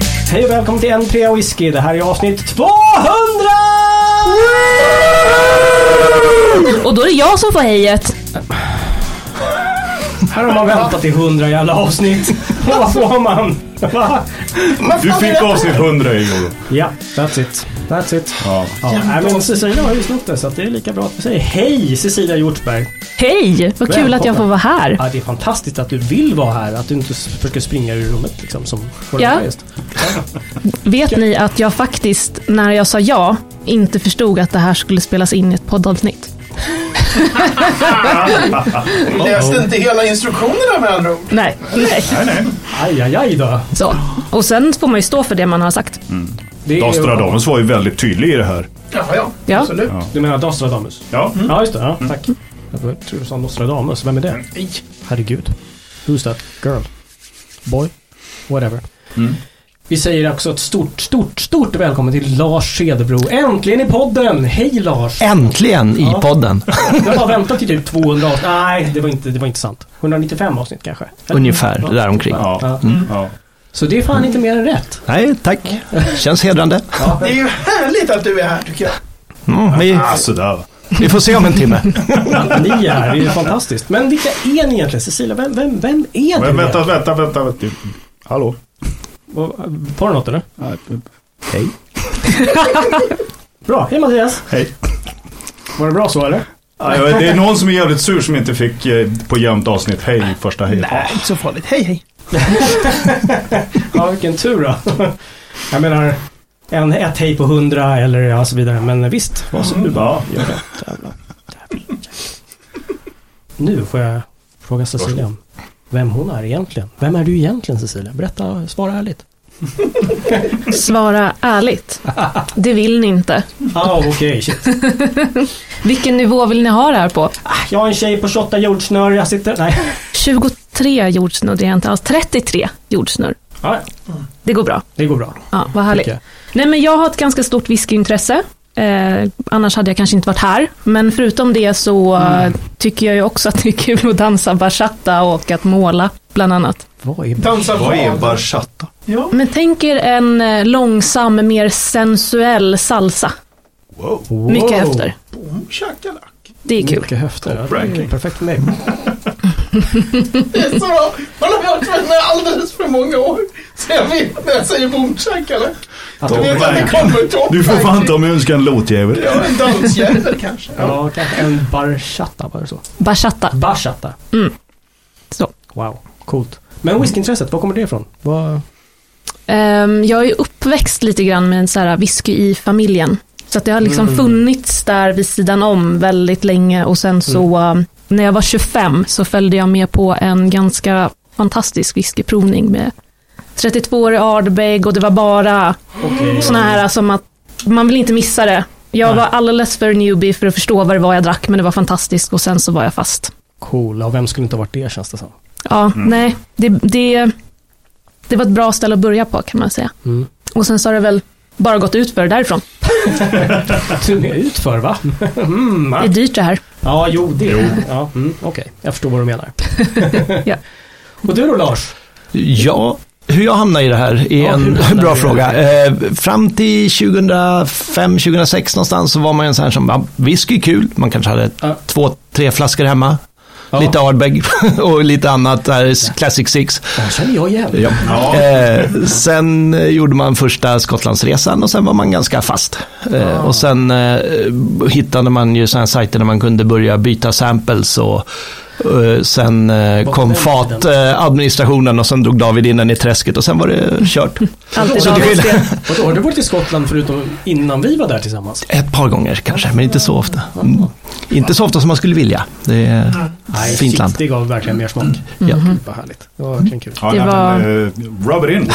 Yes, hej och välkommen till N3 Whisky. Det här är avsnitt 200! Och då är det jag som får hejet. Här har man väntat i 100 jävla avsnitt. Vad får man? Va? Du fick avsnitt 100 i år. Ja, that's it. That's it. Ja. Ja, nej, men Cecilia har ju snott det så att det är lika bra att vi säger hej Cecilia Hjortberg. Hej! Vad kul att jag får vara här. Ja, det är fantastiskt att du vill vara här, att du inte s- försöker springa ur rummet liksom som ja. Vet ni att jag faktiskt, när jag sa ja, inte förstod att det här skulle spelas in i ett poddavsnitt? Läste inte hela instruktionerna med andra ord. Nej, nej. Aj, aj, aj då. Så. Och sen får man ju stå för det man har sagt. Det är- Nostradamus var ju väldigt tydlig i det här. Jaha, ja. Ja. Absolut. Du menar Nostradamus? Ja. Mm. Ja, just det. Ja, tack. Jag tror du sa Nostradamus. Vem är det? Nej. Herregud. Who's that girl? Boy? Whatever. Vi säger också ett stort, stort, stort välkommen till Lars Cederbro. Äntligen i podden! Hej Lars! Äntligen i Ja. podden, Jag har väntat i typ 200 avsnitt. Nej, det var inte, det var inte sant. 195 avsnitt kanske? Eller? ungefär Ja. däromkring. Ja. Mm. Ja. Ja. Så det är fan inte mer än rätt. Nej, tack. Känns hedrande. Det är ju härligt att du är här tycker jag. Mm, vi, Ah, sådär. vi får se om en timme. Att Ni är här, det är ju fantastiskt. Men vilka är ni egentligen? Cecilia, vem, vem, vem är du? Men vänta, vänta, vänta. vänta. Hallå? Vad- Tar du något eller? Hej. Bra, hej Mattias! Hej. Var det bra så eller? Ja, jag vet, Det är någon som är jävligt sur som inte fick eh, på jämnt avsnitt hej i första hej. Nej, inte så farligt. Hej, hej. Ja, vilken tur då. Jag menar, en, ett hej på hundra eller ja, så vidare. Men visst, vad som du bara gör det. Jävlar. Jävlar. Nu får jag fråga Cecilia om vem hon är egentligen. Vem är du egentligen Cecilia? Berätta, svara ärligt. Svara ärligt. Det vill ni inte. Ja, okej, shit. Vilken nivå vill ni ha det här på? Ah, Jag är en tjej på 28 jordsnör, jag sitter... Nej. 23 jordsnurr, det är jag inte alls. 33 jordsnurr. Ja, Det går bra. det går bra. Ja, vad härligt. tycker jag. Nej, men jag har ett ganska stort whiskyintresse. Eh, annars hade jag kanske inte varit här. Men förutom det så eh, tycker jag ju också att det är kul att dansa bachata och att måla, bland annat. Vad är Dansa vad? bachata? Ja. Men tänk er en eh, långsam, mer sensuell salsa. wow. Mycket höfter. Boom, shakalak. Det är kul. Mycket höfter. Ja, det är ranking. perfekt för mig. Det är så bra. Man har hört henne alldeles för många år. Så jag vet när jag säger boom shakalak. Att Du de- vet att det kommer topp. Du får fan ta med önskan låtjävel. Ja, en dansjävel kanske. Ja, kanske en barchata, var det så? Bachata. Bachata. Mm. Så. Wow, coolt. Men whiskyintresset, var kommer det ifrån? Vad... Ehm, jag är ju uppväxt lite grann med en så här whisky i familjen. Så att det har liksom funnits där vid sidan om väldigt länge och sen så eh, när jag var 25 så följde jag med på en ganska fantastisk whiskyprovning med 32-årig Ardbeg och det var bara Okej. sådana Mm, här som att man vill inte missa det. Jag Nej. var alldeles för newbie för att förstå vad det var jag drack men det var fantastiskt och sen så var jag fast. Coola, och vem skulle inte ha varit det känns det som. Ja, nej. Det, det, det var ett bra ställe att börja på kan man säga. Mm. Och sen så har det väl bara gått ut för därifrån. Turné ut för va? mm, Det är ja. dyrt det här. ja, jo det. Ja, mm, Okej, jag förstår vad du menar. Ja. Och du då Lars? Ja, hur jag hamnade i det här är Ja, hur en hamnade du i bra det? fråga. Eh, fram till 2005-2006 någonstans så var man ju en sån här som, ja, whisky är kul. Man kanske hade Ja. två, tre flaskor hemma. Lite Ardbeg och lite annat, där, Classic Six. Det känner jag igen. Ja. Eh, sen eh, gjorde man första Skottlandsresan och sen var man ganska fast. Eh, Och sen eh, hittade man ju sådana sajter där man kunde börja byta samples och eh, sen eh, Vad kom den FAT eh, administrationen och sen drog David in den i träsket och sen var det kört. Alltid Så det Davids del. Och då har du varit i Skottland förutom innan vi var där tillsammans? Ett par gånger kanske, men inte så ofta. Mm. Inte så ofta som man skulle vilja. Det är Nej, fint shit, land. det gav verkligen mer smak. Ja. Mm. Gud, Vad härligt. Det var verkligen kul. Ja, Det nej, var- men, eh, Rub it in.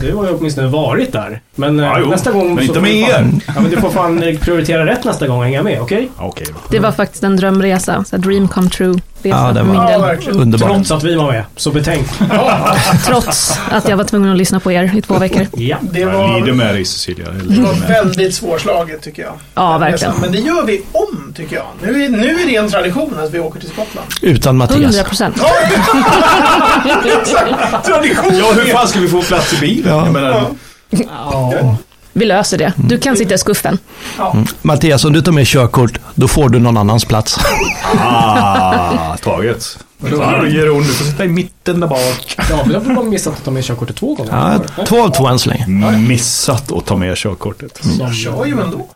Du har ju åtminstone varit där. Men eh, Ja, jo. nästa gång... Men så inte får du med fan- Ja, men du får fan eh, prioritera rätt nästa gång och hänga med, okej? Okej då. Det var faktiskt en drömresa, så här dream come true. resa Ja, det för min var- del. Ja, verkligen. Underbart. Trots att vi var med, så betänk. Trots att jag var tvungen att lyssna på er i två veckor. Ja. Det Jag lider var, med dig Cecilia. Jag det lider var med dig. väldigt svårslaget tycker jag. Ja, verkligen. Men det gör vi om tycker jag. Nu är, nu är det en tradition att vi åker till Skottland. Utan Mattias. 100 procent. Tradition! Ja, hur fan ska vi få plats i bilen? Ja. Jag menar, Vi löser det. Du kan sitta i skuffen. Mattias, om du tar med körkort, då får du någon annans plats. ah, taget. Då ger hon, du får sitta i mitten där bak. David har bara missat att ta med körkortet två gånger. Ja, två av två än så länge. Missat att ta med körkortet. Jag kör ju ändå.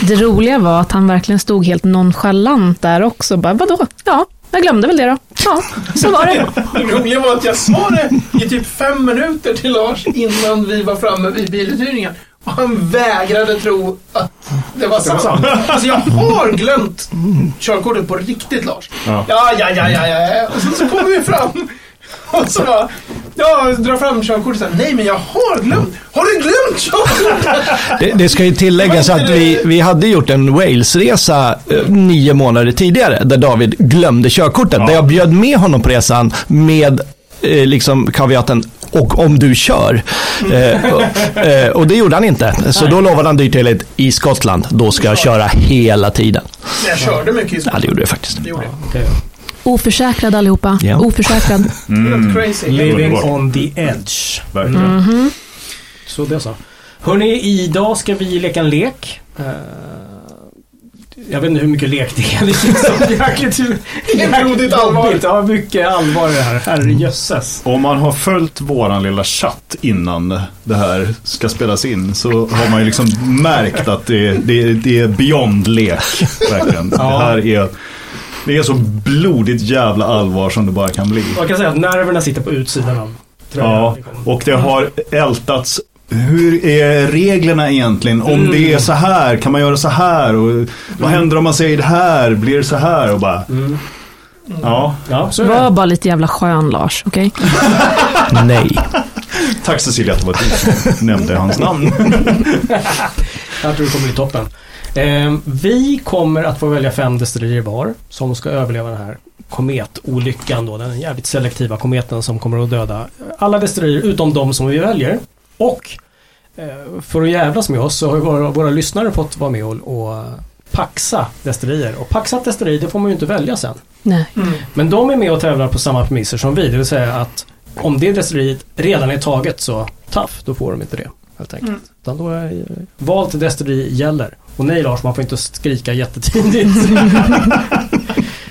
Det roliga var att han verkligen stod helt nonchalant där också. Bara, vadå? Ja, jag glömde väl det då. Ja, så var det. Det roliga var att jag sa det i typ fem minuter till Lars innan vi var framme vid biluthyrningen. Och han vägrade tro att det var sant. Alltså jag har glömt körkortet på riktigt Lars. Ja. Ja, ja, ja, ja, ja. ja. Och så, så kommer vi fram. Och så bara, ja, jag drar fram körkortet och säger, nej men jag har glömt. Har du glömt körkortet? Det, det ska ju tilläggas att vi, vi hade gjort en Walesresa eh, nio månader tidigare där David glömde körkortet. Där jag bjöd med honom på resan med eh, liksom kaviaten och om du kör. Eh, och, eh, och det gjorde han inte. Så då lovade han dyrt och heligt i Skottland, då ska jag köra hela tiden. Men jag körde mycket i Ja, skolan. det gjorde jag faktiskt. Det gjorde jag. Okej. Oförsäkrad allihopa. Ja. Oförsäkrad. Helt crazy. Living Underbart. on the edge. Verkligen. Så det så. Hörni, idag ska vi leka en lek. Eh, jag vet inte hur mycket lek det är. Det känns som jäkligt blodigt allvar. jobbigt. Ja, mycket allvar i det här. Herrejösses. Om man har följt våran lilla chatt innan det här ska spelas in så har man ju liksom märkt att det, det, det är beyond lek. Verkligen. Det här är, det är så blodigt jävla allvar som det bara kan bli. Man kan säga att nerverna sitter på utsidan av tröjan. Ja, och det har ältats. Hur är reglerna egentligen? Om det är så här, kan man göra så här? Och vad händer om man säger det här? Blir det så här? Och bara, Ja, Ja, så är det. Var bara lite jävla skön Lars, okej? Nej. tack Cecilia att det var du som nämnde hans namn. Jag tror det kommer bli toppen. Eh, vi kommer att få välja fem destillerier var som ska överleva den här kometolyckan då. Den jävligt selektiva kometen som kommer att döda alla destillerier utom de som vi väljer. Och eh, för att jävlas med oss så har våra, våra lyssnare fått vara med och, och paxa destillerier. Och paxat destilleri det får man ju inte välja sen. Nej. Mm. Men de är med och tävlar på samma premisser som vi. Det vill säga att om det destilleriet redan är taget så taff, då får de inte det. Helt enkelt. Utan då är eh, val till destilleri gäller. Och nej Lars, man får inte skrika jättetidigt.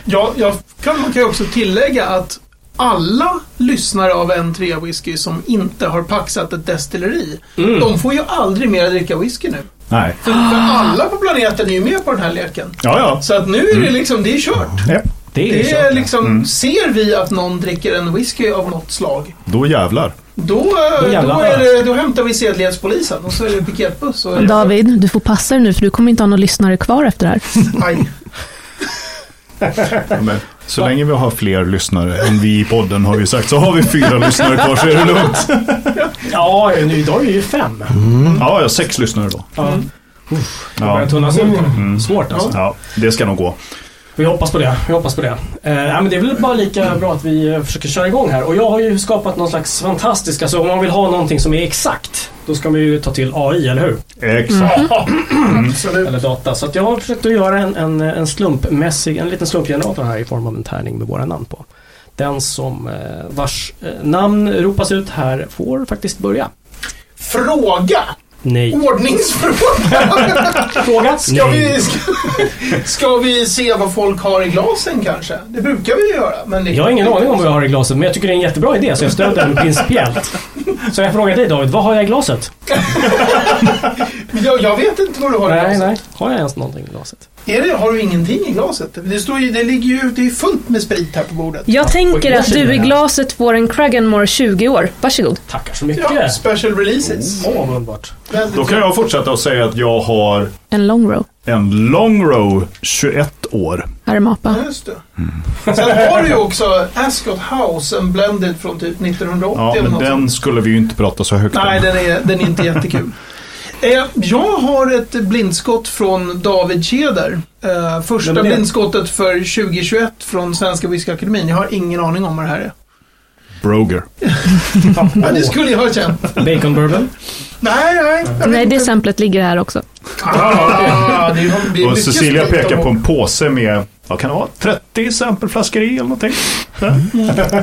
Ja, jag kan, man kan ju också tillägga att alla lyssnare av en trea whisky som inte har paxat ett destilleri, Mm. de får ju aldrig mer dricka whisky nu. Nej. För, för Ah. alla på planeten är ju med på den här leken. Ja, ja. Så att nu är det liksom, det är kört. Ja, Mm. Det är, Det är kört. Mm. liksom, ser vi att någon dricker en whisky av något slag, Då jävlar. då, eh, Då jävlar. då, är det, då hämtar vi sedlighetspolisen och så är det piketbuss. Och, David, du får passa dig nu för du kommer inte ha några lyssnare kvar efter det här. Aj. Men så länge vi har fler lyssnare än vi i podden har vi sagt så har vi fyra lyssnare kvar så är det lugnt. Ja, nu, idag är det ju fem. Ja, jag har sex lyssnare då. Ja. Det börjar Mm. Ja. Mm. tunnas ut. Svårt alltså. ja, det ska nog gå. Vi hoppas på det. Vi hoppas på det. Eh, nej, men det är väl bara lika bra att vi eh, försöker köra igång här. Och jag har ju skapat någon slags fantastisk, alltså om man vill ha någonting som är exakt, då ska man ju ta till AI, eller hur? Exakt. Mm. Absolut. eller data. Så att jag har försökt att göra en, en, en slumpmässig, en liten slumpgenerator här i form av en tärning med våra namn på. Den som eh, vars eh, namn ropas ut här får faktiskt börja. Fråga! Nej. Ordningsfråga! Fråga? Ska vi, ska, ska vi se vad folk har i glasen kanske? Det brukar vi ju göra. Men det, Jag har ingen aning om vad jag har i glaset, men jag tycker det är en jättebra idé, så jag stöder den principiellt. Så jag frågar dig David, vad har jag i glaset? jag, jag vet inte vad du har i Nej, glaset. nej. Har jag ens någonting i glaset? Är det, har du ingenting i glaset? Det, står ju, det ligger ju det är fullt med sprit här på bordet. Jag tänker att du i Ja. glaset får en Cragganmore 20 år. Varsågod. Tackar så mycket. Ja, special releases. Åh, vad underbart. Väldigt Oh. Då kan jag fortsätta och säga att jag har En long row. en long row 21 år. Här är mappa. bra. Just det. Sen har du ju också Ascot House, en blended från typ 1980 Ja, eller men något sånt. den skulle vi ju inte prata så högt Nej, om. den är, den är inte jättekul. Eh, Jag har ett blindskott från David Keder. Eh, Första Nej, men det- blindskottet för 2021 från Svenska Whiskyakademin. Jag har ingen aning om vad det här är. Broger. Ja, det skulle jag ha känt. Bacon bourbon. Nej, nej. jag Nej, vet det inte. samplet ligger här också. Ah, det blir Och mycket Cecilia skott pekar om- på en påse med, vad kan det vara, 30 sampleflaskor i eller någonting.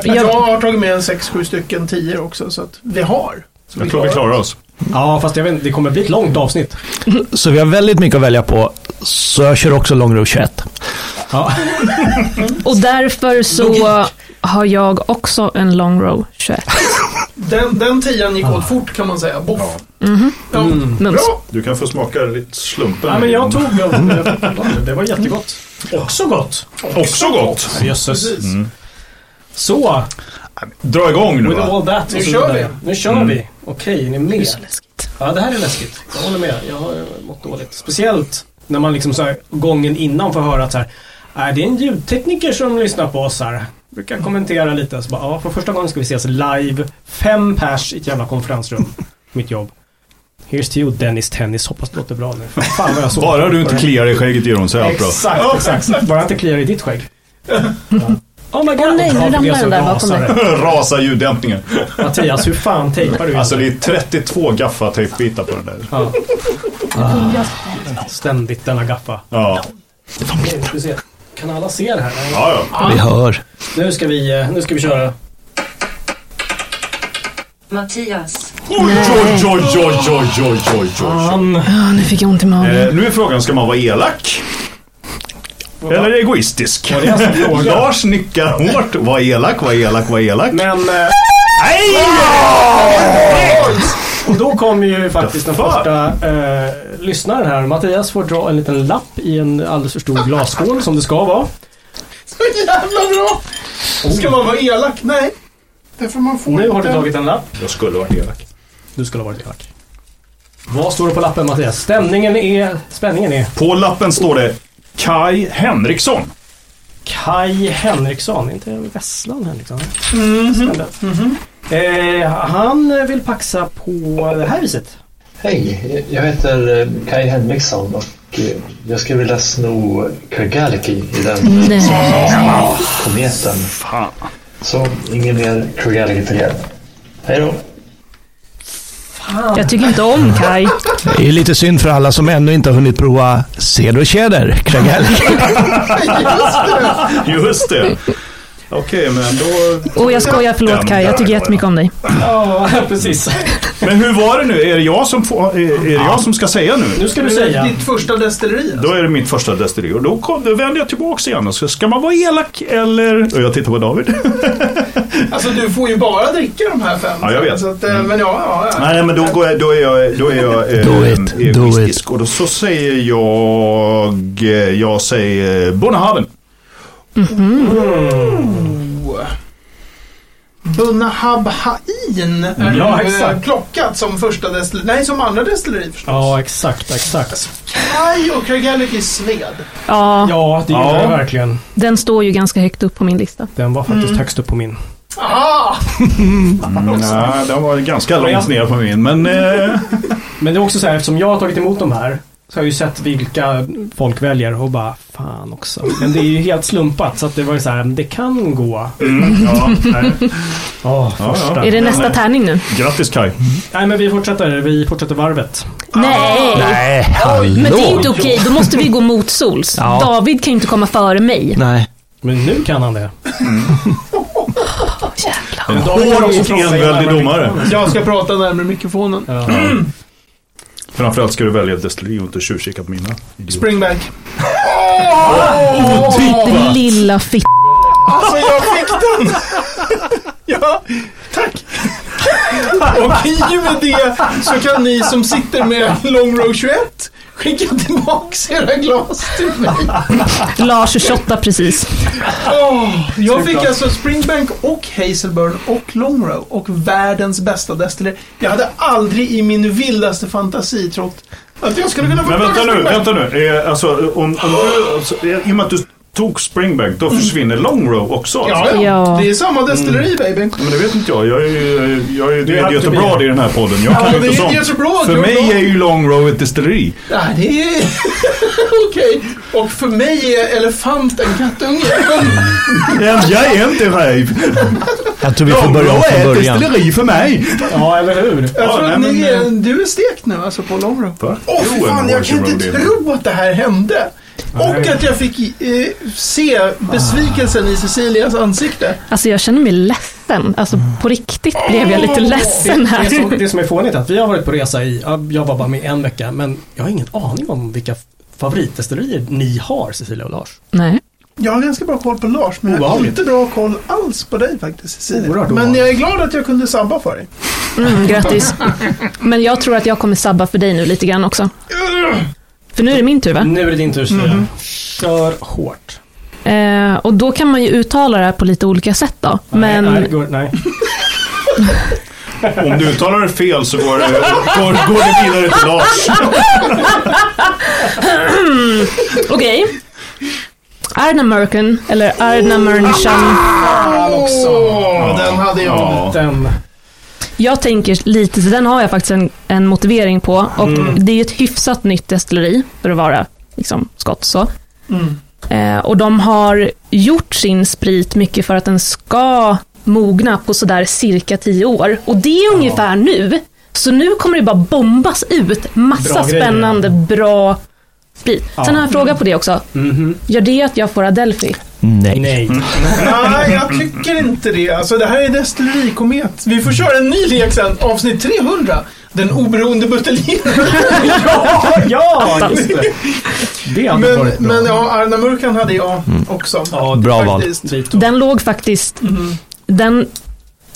Jag har tagit med en 6-7 stycken 10 också, så att vi har. Så Jag tror vi klarar oss. Ja, fast jag vet inte, det kommer bli ett långt avsnitt. Så vi har väldigt mycket att välja på. Så jag kör också Långrot 21. Ja. Och därför så har jag också en long row 21. Den, den tian gick Ah. åt fort kan man säga. Boff. Mhm. Ja. Mm. Mums. Bra! Du kan få smaka lite slumpen. ja, men jag tog Det var jättegott. Också gott. Också gott. Jösses. Mm. Så, Dra igång nu with va? Mm. all that. och Nu så kör vidare. Nu kör vi. Okej, är ni med? Läskigt. Ja, det här är läskigt. Jag håller med. Jag har mått dåligt. Speciellt när man liksom så här, gången innan får höra att så här, "Nej, det är en ljudtekniker som lyssnar på oss här. Brukar kommentera lite. Så bara, ja, för första gången ska vi ses live. Fem pers i ett jävla konferensrum. Mitt jobb. Here's to you Dennis Tennis. Hoppas det låter bra nu. Fan vad jag såg. Bara du inte kliar i skägget gör hon sig allt bra. Exakt, exakt. Bara inte kliar i ditt skägg. Ja. Oh my god. Åh nej, nu Ja, det ramlade blev så den där bakom rasande. dig. Rasa ljuddämpningen. Mattias, hur fan tejpar du Alltså in det är 32 gaffatejpbitar på den där. Ah. ständigt denna gaffa? Ja, Okej, ska vi se. Kan alla se det här? ja. ja. Vi hör. Nu ska vi, eh, nu ska vi köra. Mattias, Oj, oj, oj, oj, oj, oj, oj, oj. Han... Ja, Ah, nu fick jag ont i magen. Eh, nu är frågan, ska man vara elak? Eller egoistisk? det är alltså frågan. Lars nickar hårt. Var elak, var elak, var elak. Men... eh, Nej! Och då kom ju faktiskt den Fan. första eh, lyssnaren här. Mattias får dra en liten lapp i en alldeles för stor glasskål som det ska vara. Så jävla bra! Ska man vara elak? Nej. Därför man får Nu har du inte- tagit en lapp. Jag skulle varit elak. Du skulle ha varit elak. Vad står det på lappen Mattias? Stämningen är... Spänningen är... På lappen står det Kai Henriksson. Kai Henriksson, inte Vesslan Henriksson. Mhm. Spännande. Eh, han vill paxa på det här viset. Hej, jag heter eh, Kai Henriksson och eh, jag skulle vilja sno Kurgaliki i den Nej. kometen. Fan. Så ingen mer Kurgaliki till er. Hej då! Jag tycker inte om Kai. Det är lite synd för alla som ännu inte har hunnit prova Cedertjäder, Kregell. Just det. Okej, men då... Och jag skojar, förlåt Kai. Jag tycker jättemycket om dig. Ja, precis. Men hur var det nu? Är det jag som, får, är, är det jag som ska säga nu? Nu ska du Det är säga. Ditt första destilleri. Då är det mitt första destilleri och då, kom, då vänder jag tillbaka igen och så ska man vara elak eller... Och jag tittar på David. Alltså du får ju bara dricka de här fem. Ja, jag vet. Så att, eh, Men ja, ja, ja. Nej, men då, går jag, då är jag, då är jag eh, Do it, do egoistisk. Och då så säger jag... eh, Jag säger Bonnehaven. Bunahab Hain är Ja, ju, eh, exakt. klockat som första destilleri. Nej, som andra destilleri förstås. Ja, exakt, exakt. Kaj och Kragallik i Sved. Ja, Ja, det gjorde Ja. jag verkligen. den står ju ganska högt upp på min lista. Den var faktiskt högst upp på min. Ah! Mm, Nej, den var ganska långt ner på min, men... Eh, Men det är också så här, eftersom jag har tagit emot de här så har jag ju sett vilka folk väljer och bara fan också. Men det är ju helt slumpat så att det var ju så här, det kan gå. mm, ja, nej. Åh, Ja, första. ja. eh, Är det nästa tärning nu? Grattis Kai. Nej men vi fortsätter, vi fortsätter varvet. Nej! Nej, Men det är hallå. inte okej, då måste vi gå mot sols. Ja. David kan ju inte komma före mig. Nej. Men nu kan han det. Mm. En David har hård också och frågat sig enväldig varför- domare. Jag ska prata närmare mikrofonen. Ja. Framförallt ska du välja ett destilleri och inte tjuvkika på mina. Idiot. Springback. Den lilla fitt... Alltså jag fick den! ja, tack. Och i och med det så kan ni som sitter med Long Row 21 skicka tillbaks era glas till mig. Lars 28 precis. Åh, jag fick alltså Springbank och Hazelburn och Long Row och världens bästa destilleri. Jag hade aldrig i min vildaste fantasi trott att jag skulle kunna få Men plats vänta nu, Springbank. vänta nu. Eh, alltså, om, om du, alltså, eh, I och med att du tog Springbank, då försvinner Longrow också. alltså. Ja, ja. Ja. Det är samma destilleri baby. Men det vet inte jag. Jag är ju, jag är ju Du är tredje up to Göteborg be. i den här podden. Jag Ja, kan det ju är inte sånt. ju så bra, För det är mig bra. är ju Longrow ett destilleri. Nej, det är... Okej. Och för mig är elefant en kattunge. Jag är inte räv. Jag tror vi får börja om Longrow från är ett början. destilleri för mig. Ja, eller hur? Jag tror nej, att men, ni eh, är, du är stekt nu alltså på Longro. Va? Åh oh, Jo, fan, en jag kan Orchard inte Road Deal. tro att det här hände. Och att jag fick eh, Ah. se besvikelsen i Cecilias ansikte. Alltså jag känner mig ledsen. Alltså på riktigt blev jag lite ledsen Det, här. som, det som är fånigt är att vi har varit på resa i, ja, jag var bara med en vecka, men jag har ingen aning om vilka favoritdestillerier ni har, Cecilia och Lars. Nej. Jag har ganska bra koll på Lars, men jag har Obehagligt. inte bra koll alls på dig faktiskt Cecilia. Oerhört Men obehagligt. jag är glad att jag kunde sabba för dig. Mm, grattis. Men jag tror att jag kommer sabba för dig nu lite grann också. För nu är det min tur va? Nu är det din tur, Cecilia. Kör hårt. Eh, och då kan man ju uttala det här på lite olika sätt då. Men Nej, nej, det går, nej. Om du uttalar det fel så går det, går, går det vidare till Lars. okej. Arnamurken, eller Arnamurnshan. Fan också. Åh, den hade jag. Ja. Den, Jag tänker lite, så den har jag faktiskt en, en motivering på. Och Mm. det är ju ett hyfsat nytt destilleri för att vara liksom, skott så. Mm. Eh, och de har gjort sin sprit mycket för att den ska mogna på sådär cirka 10 år. Och det är ungefär nu. Så nu kommer det bara bombas ut massa Bra grejer. spännande, bra sprit. Sen har jag en fråga på det också. mhm. Gör det att jag får Adelphi? Nej. nej. Nej, jag tycker inte det. Alltså det här är destillerikomet. Vi får köra en ny lek sen, avsnitt 300. Den oberoende buteljen. Ja, ja, just det. Det hade Men, varit bra. men ja, Arna Murkan hade jag också. ja, Bra val. Faktiskt. dit då. Den låg faktiskt... Den,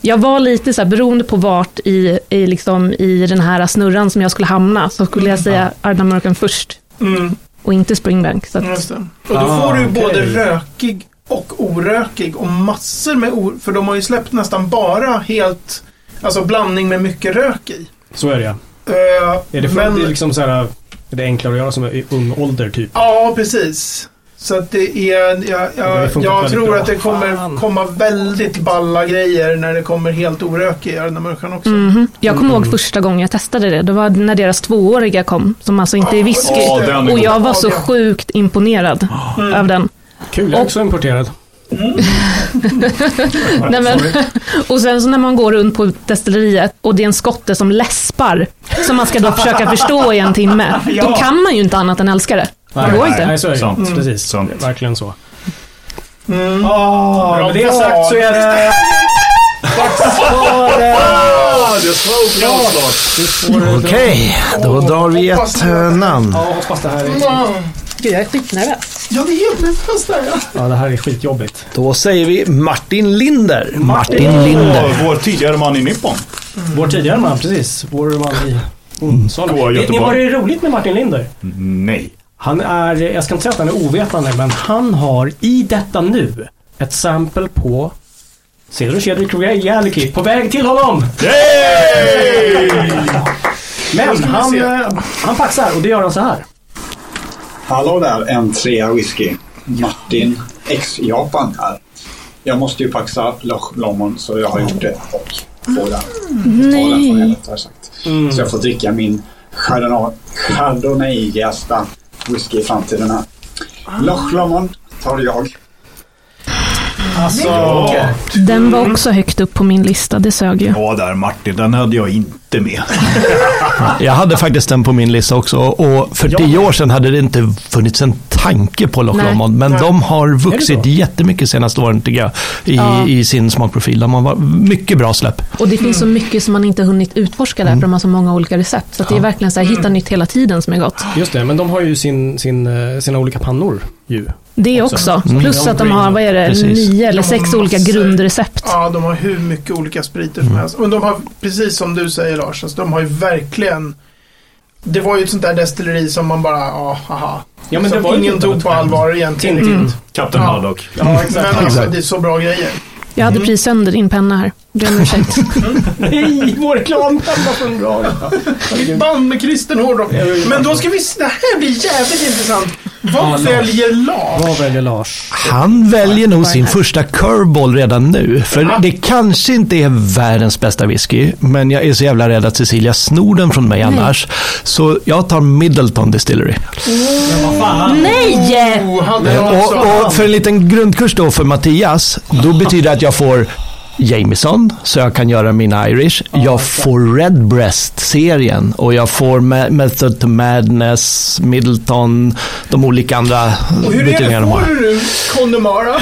jag var lite så här, beroende på vart i, i, liksom, i den här snurran som jag skulle hamna, så skulle jag säga Ardnamurkan först Mm, och inte Springbank. Så att, just det. Och då Ah, får du okej. både rökig och orökig och massor med or... För de har ju släppt nästan bara helt... Alltså blandning med mycket rök i. Så är det ja. Eh, Är det, för, men, det är liksom så här, är det enklare att göra som i ung ålder typ? Ja, precis. Så att det är... Jag, har ju jag, funkat jag väldigt tror bra. att det kommer Fan. komma väldigt balla grejer när det kommer helt orökig i Arna Murkan också. Mhm. Jag kommer ihåg första gången jag testade det, det var när deras tvååriga kom, som alltså inte är whisky. Åh, den är Och god. jag var så sjukt imponerad av den. Kul, jag är också importerad. Nej, men, och sen så när man går runt på destilleriet och det är en skotte som läspar, som man ska då försöka förstå i en timme, då kan man ju inte annat än älska det. Det går inte. Nej, så är det. Mm. Sant. Precis. Sant. Det är Verkligen så. Mm. Oh, med det sagt så är det... Dags för... Ah, det slog klart Lars. Okej, då drar vi ett eh, namn. Ja, hoppas det här är... Gud, jag är skitnervös. Ja, det är helt nervöst där. ja. Ja, det här är skitjobbigt. Då säger vi Martin Linder. Martin Linder. Åh, Vår tidigare man i Nippon. Mm. Vår tidigare man, precis. Vår man i Onsala. Gå, Vet ni Göteborg. vad det är roligt med Martin Linder? Nej. Han är, jag ska inte säga att han är ovetande, men han har i detta nu ett sample på Cedro Cedric Reality på väg till honom. Yay! Men ska vi han, se. eh, han paxar och det gör han så här. Hallå där, en trea whisky. Martin, ex-Japan här. Jag måste ju paxa Loch Lomond så jag har gjort det och får den. Nej. Får den, rättare sagt. Så jag får dricka min Chardonnay- Chardonnay-jästa whisky i framtiden här. Loch Lomond tar jag. Så, Den var också högt upp på min lista, det sög ju. Ja där Martin, den hade jag inte med. Jag hade faktiskt den på min lista också och för tio år sedan hade det inte funnits en tanke på Loch Nej. Lomond. Men de har Är det vuxit så? jättemycket senaste åren tycker jag i, Ja. i sin smakprofil. De har varit mycket bra släpp. Och det finns så mycket som man inte hunnit utforska där, för de har så många olika recept. Så att det är verkligen så här, hitta nytt hela tiden som är gott. just det, men de har ju sin, sin, eh, sina olika pannor ju. Det också. Mm. Plus att de har, vad är det, Precis. nio eller De har sex olika massor. grundrecept. Ja, de har hur mycket olika spriter Mm. som helst. Men de har, precis som du säger Lars, alltså, de har ju verkligen det var ju ett sånt där destilleri som man bara, ja, haha. Ja, men som det var ju ingen lite av tog ett på allvar egentligen. Tintin. riktigt. Kapten Ja. Haddock. Ja, Men Mm. exakt. alltså, Exakt. det är så bra grejer. Jag hade precis sönder din penna här. Det är en ursäkt. Nej, vår reklam var för bra. Mitt band med kristen hårdrock. Men då ska vi, det här blir jävligt intressant. Vad Ja, väljer Lars? Vad väljer Lars? Han väljer nog sin första curveball redan nu. För det kanske inte är världens bästa whisky, men jag är så jävla rädd att Cecilia snor den från mig annars. Så jag tar Middleton Distillery. Nej! Oh, hade jag också. Och, och för en liten grundkurs då för Mattias, då betyder det att jag får Jameson, så jag kan göra mina Irish. Jag får Redbreast-serien och jag får Ma- Method to Madness, Middleton, de olika andra Och hur är betydelserna det? de har. Får du nu Connemara?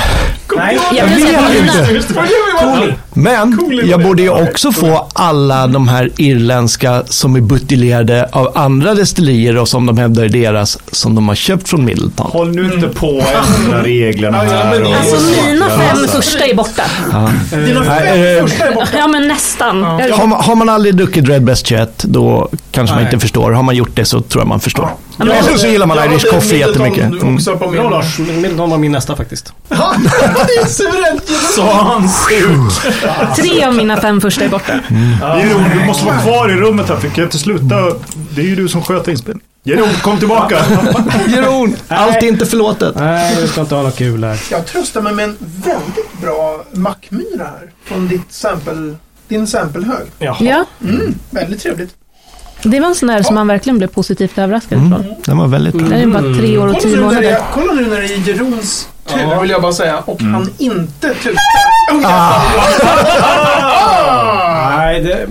Nej, Jag kan säga att mina, Cooley. Men Cool jag idé. borde ju också få alla de här irländska som är buteljerade av andra destillerier och som de hävdar är deras, som de har köpt från Middleton. Håll nu inte på och ändra reglerna Mm. Ja, ja, men här. det är alltså Och... mina fem första är borta. Dina Nej, fem eh, första är borta. Ja men nästan. Jag- Har man, har man aldrig druckit Red Breast 21 då kanske man Nej. inte förstår. Har man gjort det så tror jag man förstår. men- Eller så gillar man Jag Irish hade Coffee Middleton jättemycket. Mm. Också på min. Bra Lars, Min- min- de var min nästa faktiskt. Ja, det är suveränt. Sa han surt? Tre av mina fem första är borta. Jero, Mm. du måste vara kvar i rummet här för jag kan inte sluta. Det är ju du som sköter inspelningen. Jero, kom tillbaka. Jeroen, Mm. allt är inte förlåtet. Nej, du ska inte ha något kul här. Jag tröstar mig med en väldigt bra mackmyra här. Från ditt sample, din samplehög. Ja, Väldigt trevligt. det var en sån där som man verkligen blev positivt överraskad Mm. ifrån. Den var väldigt bra. Den är bara tre år och Kolla tio nu, när det, månader. kolla nu när det är Jerons tur, vill jag bara säga. Och han inte tutar. Nej, det,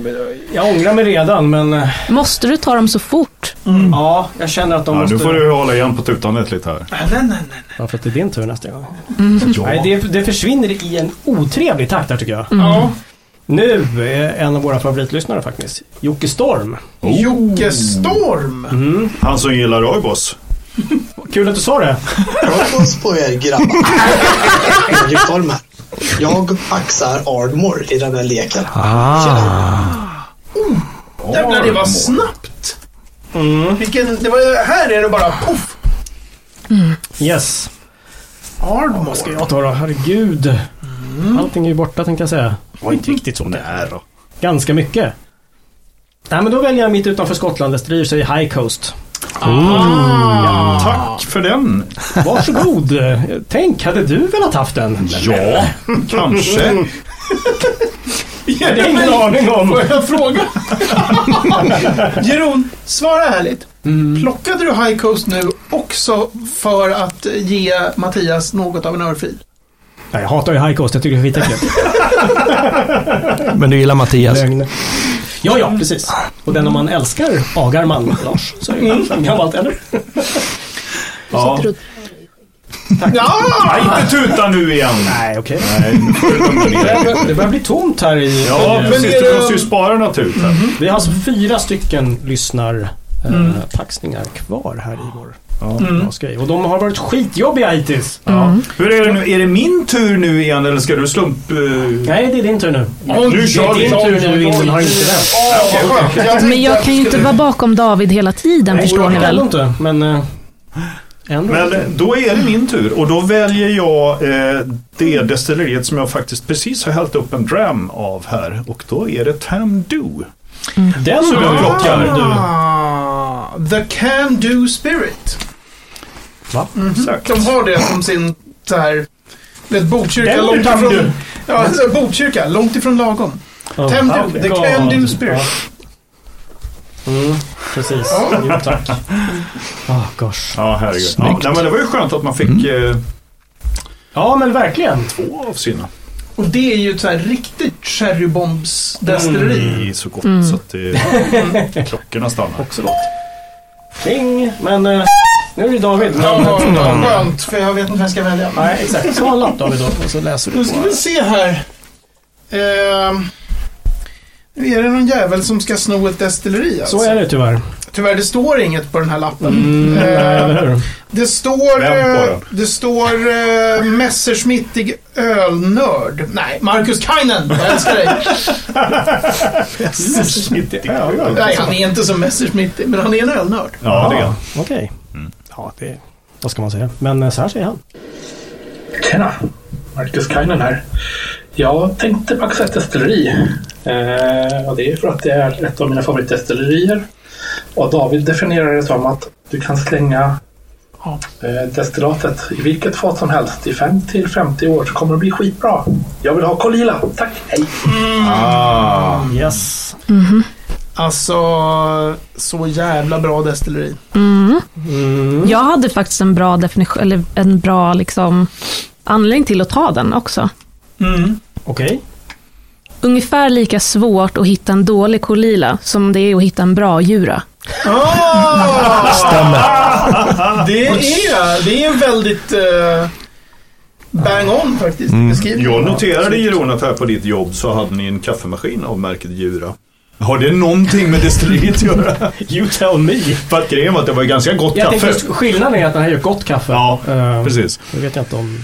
jag ångrar mig redan men eh, Måste du ta dem så fort? ja, jag känner att de Ja, måste... nu får du hålla igen på tutandet lite här. Nej, nej, nej. nej. Ja, för att det är din tur nästa gång. Nej, Ja. det, det försvinner i en otrevlig takt här tycker jag. Mm. Ja. Nu är en av våra favoritlyssnare faktiskt, Jocke Storm. Jocke Storm. Mm. Han som gillar Roibos. Kul att du sa det. Puss på er grabbar. Henrik Holm här. Jag axar Ardmore i den här leken. Ah. Jävlar, det var snabbt. Vilken, det var, här är det bara poff. Yes. Ardmore. Vad ska jag ta då? Herregud. Mm. Allting är ju borta tänkte jag säga. Det var inte riktigt så där då. Ganska mycket. Nej men då väljer jag mitt utanför Skottland. Destillerier säger High Coast. Mm. Tack för den. Varsågod. Tänk, hade du velat haft den? Ja, kanske. Det är ingen aning om. Får jag fråga? Jeroen, svara ärligt. Mm. Plockade du High Coast nu också för att ge Mattias något av en örfil? Nej, jag hatar ju High Coast. Jag tycker det är skitäckligt. Men du gillar Mattias. Lögn. Ja, ja, precis. Och den om man älskar agar man, Lars. Så är det ju gammalt, eller? Ja. Ja! Nej, inte tuta nu igen. Nej, okej. Nej, nu får du lugna ner dig. Det börjar bli tomt här i... Ja, i- precis. Du måste ju spara något ut här. Vi har alltså fyra stycken lyssnarpaxningar kvar här i vår grej. Och de har varit skitjobbiga hittills. Hur är det nu? Är det min tur nu igen eller ska du slump... eh, Nej, det är din tur nu. nu Det kör är vi! din tur nu, Ingrid har inte den. Men jag kan ju inte vara bakom David hela tiden, förstår ni jag väl? kan inte, men... eh, Ändå. Men eh, då är det min tur och då väljer jag eh, det destilleriet som jag faktiskt precis har hällt upp en dram av här och då är det Tam Dew. den Så jag plockar nu. Ah, the Can Do Spirit. Mhm. Va? Exakt. De har det som sin så här... Vet, Botkyrka Den långt utan du. ifrån... Ja, alltså, Botkyrka långt ifrån lagom. Oh, Tem du, The Can Do Spirit. Mm, precis. Jo, tack. Oh, gosh. Ja, herregud. Ja, Snyggt. nej, men det var ju skönt att man fick eh, Ja, men verkligen. två av sina. Och det är ju ett så här riktigt cherrybombs-destilleri. Det är så gott så att det, klockorna stannar. Också gott. Ding, men... eh, Nu är det David. Ja, Men, vad skönt, för jag vet inte vad jag ska välja. nej, exakt. Ta en lapp David då, och så läser Nu du ska på. vi se här. Ehm, Nu är det någon jävel som ska sno ett destilleri alltså. Så är det tyvärr. Tyvärr, det står inget på den här lappen. Mm, Eh, nej, eller hur? Det står... Vänd på eh, den. Det står uh, Messerschmittig ölnörd. Nej, Marcus Kainen. Jag älskar dig. Nej, han är inte så Messerschmittig, men han är en ölnörd. Ja, det är han. Okej. Ja, det... Vad ska man säga? Men eh, så här säger han. Tjena! Marcus Kainen här. Jag tänkte packa ett destilleri. Eh, och det är för att det är ett av mina favoritdestillerier. Och David definierar det som att du kan slänga Eh, destillatet i vilket fat som helst i 5 till 50 år så kommer det bli skitbra. Jag vill ha kolila. Tack, hej. Ah, Yes. Alltså, så jävla bra destilleri. Mm. Mm. Jag hade faktiskt en bra definition, eller en bra liksom, anledning till att ta den också. Mm. Okej. Ungefär lika svårt att hitta en dålig kolila som det är att hitta en bra jura. Stämmer. Det är, det är en väldigt eh, bang on faktiskt Mm. beskrivning. Jag noterade Jeroen att här på ditt jobb så hade ni en kaffemaskin av märket Jura. Har det någonting med destilleriet att göra? You tell me. För att grejen var att det var ganska gott Jag kaffe. tänkte, just skillnaden är att den här gör gott kaffe. Ja, Eh, Precis. Nu vet jag inte om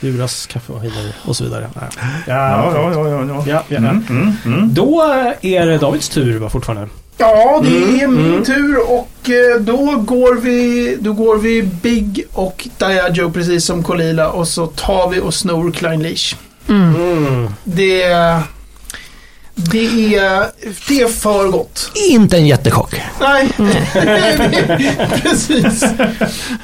Juras kaffemaskiner och så vidare. Nej. Ja, Ja, ja, ja. ja, ja. ja, ja. Mm, mm, mm. Då eh, är det Davids tur va, fortfarande. Ja, det är min tur och eh, då går, vi, då går vi Big och Diageo precis som Kolila och så tar vi och snor Klein Leash. Mm. Det, det, är, det är för gott. Inte en jättechock. Nej, precis.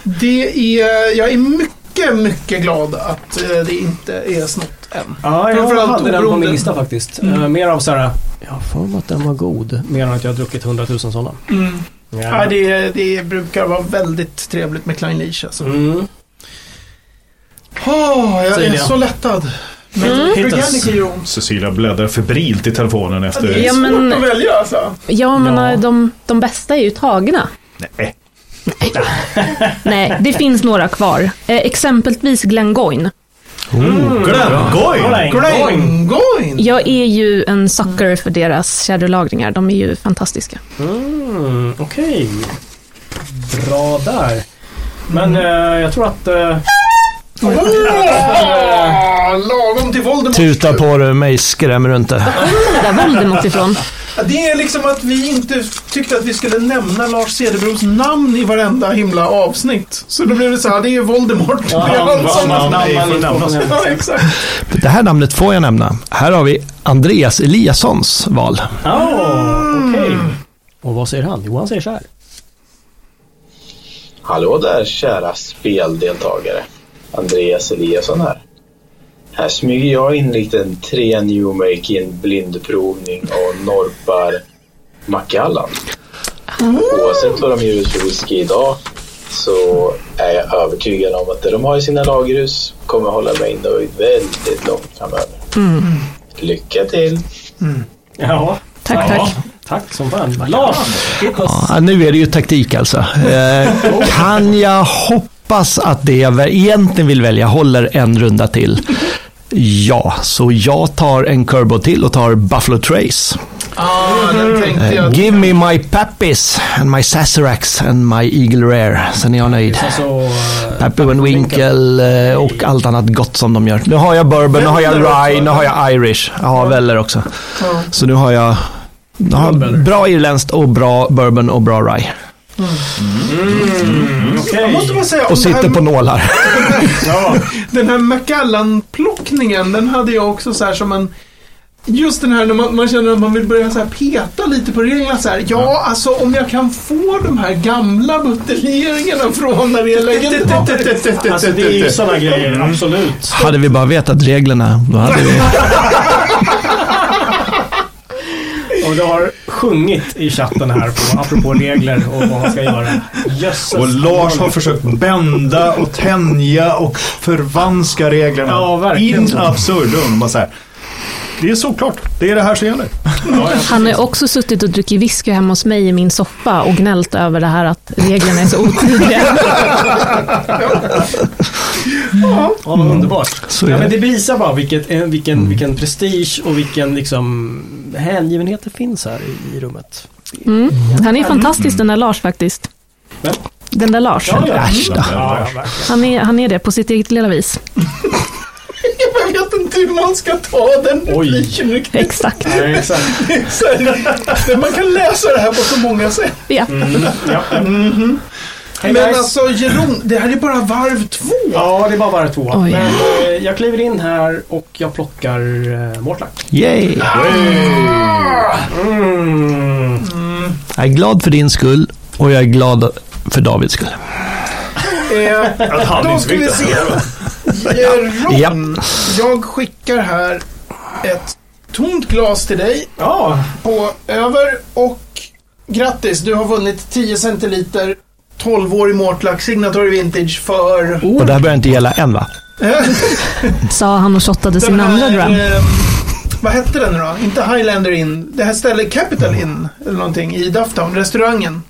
Det är, jag är mycket, mycket glad att eh, det inte är snott än. Ja, jag Framförallt hade den på min oberoende. lista faktiskt. Mm. Eh, mer av så här, jag har för mig att den var god. Mer än att jag har druckit hundratusen sådana. Mm. Ja. Ja, det, det brukar vara väldigt trevligt med Klein Leash alltså. Mm. Åh, jag Säger är jag. så lättad. Men Mm. Brugani Kiron. Cecilia bläddrar febrilt i telefonen efter... Det är Ja, men- svårt att välja alltså. Jag menar, Ja. eh, de, de bästa är ju tagna. Nej. Nej, det finns några kvar. Eh, exempelvis Glengoyne. Glömgoj! Mm. Glengoyne. Glengoyne. Glengoyne! Jag är ju en sucker för deras shadowlagringar. De är ju fantastiska. Mm, Okej. Bra där. Men eh, jag tror att... eh, Åh, Lagom till Voldemort. Tuta på dig, mig skrämmer du inte. Det där Voldemort ifrån. Ja, Det är liksom att vi inte tyckte att vi skulle nämna Lars Cederbros namn i varenda himla avsnitt. Så då blev det så här, det är Voldemort. Ja, han- han- han- namn man inte får nämna. ja, exakt. Det här namnet får jag nämna. Här har vi Andreas Eliassons val. Oh, okej. Och vad säger han? Jo, han säger så här. Hallå där kära speldeltagare. Andreas Eliasson här. Här smyger jag in liten tre New Making blindprovning och norpar Macallan. Oavsett vad de gör för whisky idag så är jag övertygad om att det de har i sina lagerhus kommer hålla mig nöjd väldigt långt framöver. Lycka till! Ja. Tack, tack. Tack som fan. Lars! hit us. Ja, nu är det ju taktik alltså. Eh, kan jag hoppas att det jag väl- egentligen vill välja håller en runda till? Ja, så jag tar en Curbo till och tar Buffalo Trace. Eh, Ah, den tänkte jag. Give me my Pappies and my Sazeracs and my Eagle Rare. Sen är jag nöjd. Alltså, eh, Pappy and Winkle eh, och allt annat gott som de gör. Nu har jag bourbon, nu har jag rye, nu har jag irish. Jag har Weller också. Ja. Så nu har jag nu har jag bra irländskt och bra bourbon och bra rye. eh, Jag måste bara säga, om Och det här, sitter på nålar. den här Macallan-plockningen, den hade jag också så här som en... Just den här när man, man känner att man vill börja så här peta lite på reglerna så här. Ja, alltså om jag kan få de här gamla buteljeringarna från när det är legendariskt. Alltså det är ju sådana grejer, absolut. Hade vi bara vetat reglerna, då hade vi... Och du har sjungit i chatten här på, apropå regler och vad man ska göra. Jösses. Och Lars har försökt bända och tänja och förvanska reglerna. Ja, verkligen. In absurdum. Man säger, det är såklart. Det är det här som gäller. Han har ju också suttit och druckit whisky hemma hos mig i min soffa och gnällt över det här att reglerna är så otydliga. Ja, vad underbart. Så är Ja, men det. det visar bara vilket, eh, vilken, vilken prestige och vilken liksom, hängivenhet det finns här i, i rummet. Mm. Han är fantastisk den där Lars faktiskt. Vem? Den där Lars. Äsch då. Ja, ja, verkligen. Han är, han är det på sitt eget lilla vis. Jag vet inte hur man ska ta den Oj. repliken riktigt. Exakt. Nej, exakt. Så här, Man kan läsa det här på så många sätt. Ja. Mm, ja. Hey Men guys. alltså Jeroen, det här är bara varv två. Ja, det är bara bara två. Oj. Men eh, jag kliver in här och jag plockar eh, Mortlack. Yay! Mm. Jag är glad för din skull och jag är glad för Davids skull. Eh, Att han då inte ska fick vi det. se. Eh, Ron, Ja. jag skickar här ett tomt glas till dig. Ja, på över och grattis, du har vunnit 10 centiliter 12-årig Mortlack Signatory Vintage för Och det här börjar inte gälla än va? Sa han och shottade sin andra dram. ehm, vad hette den nu då? Inte Highlander Inn. Det här stället Capital Inn eller någonting i Dufftown, restaurangen.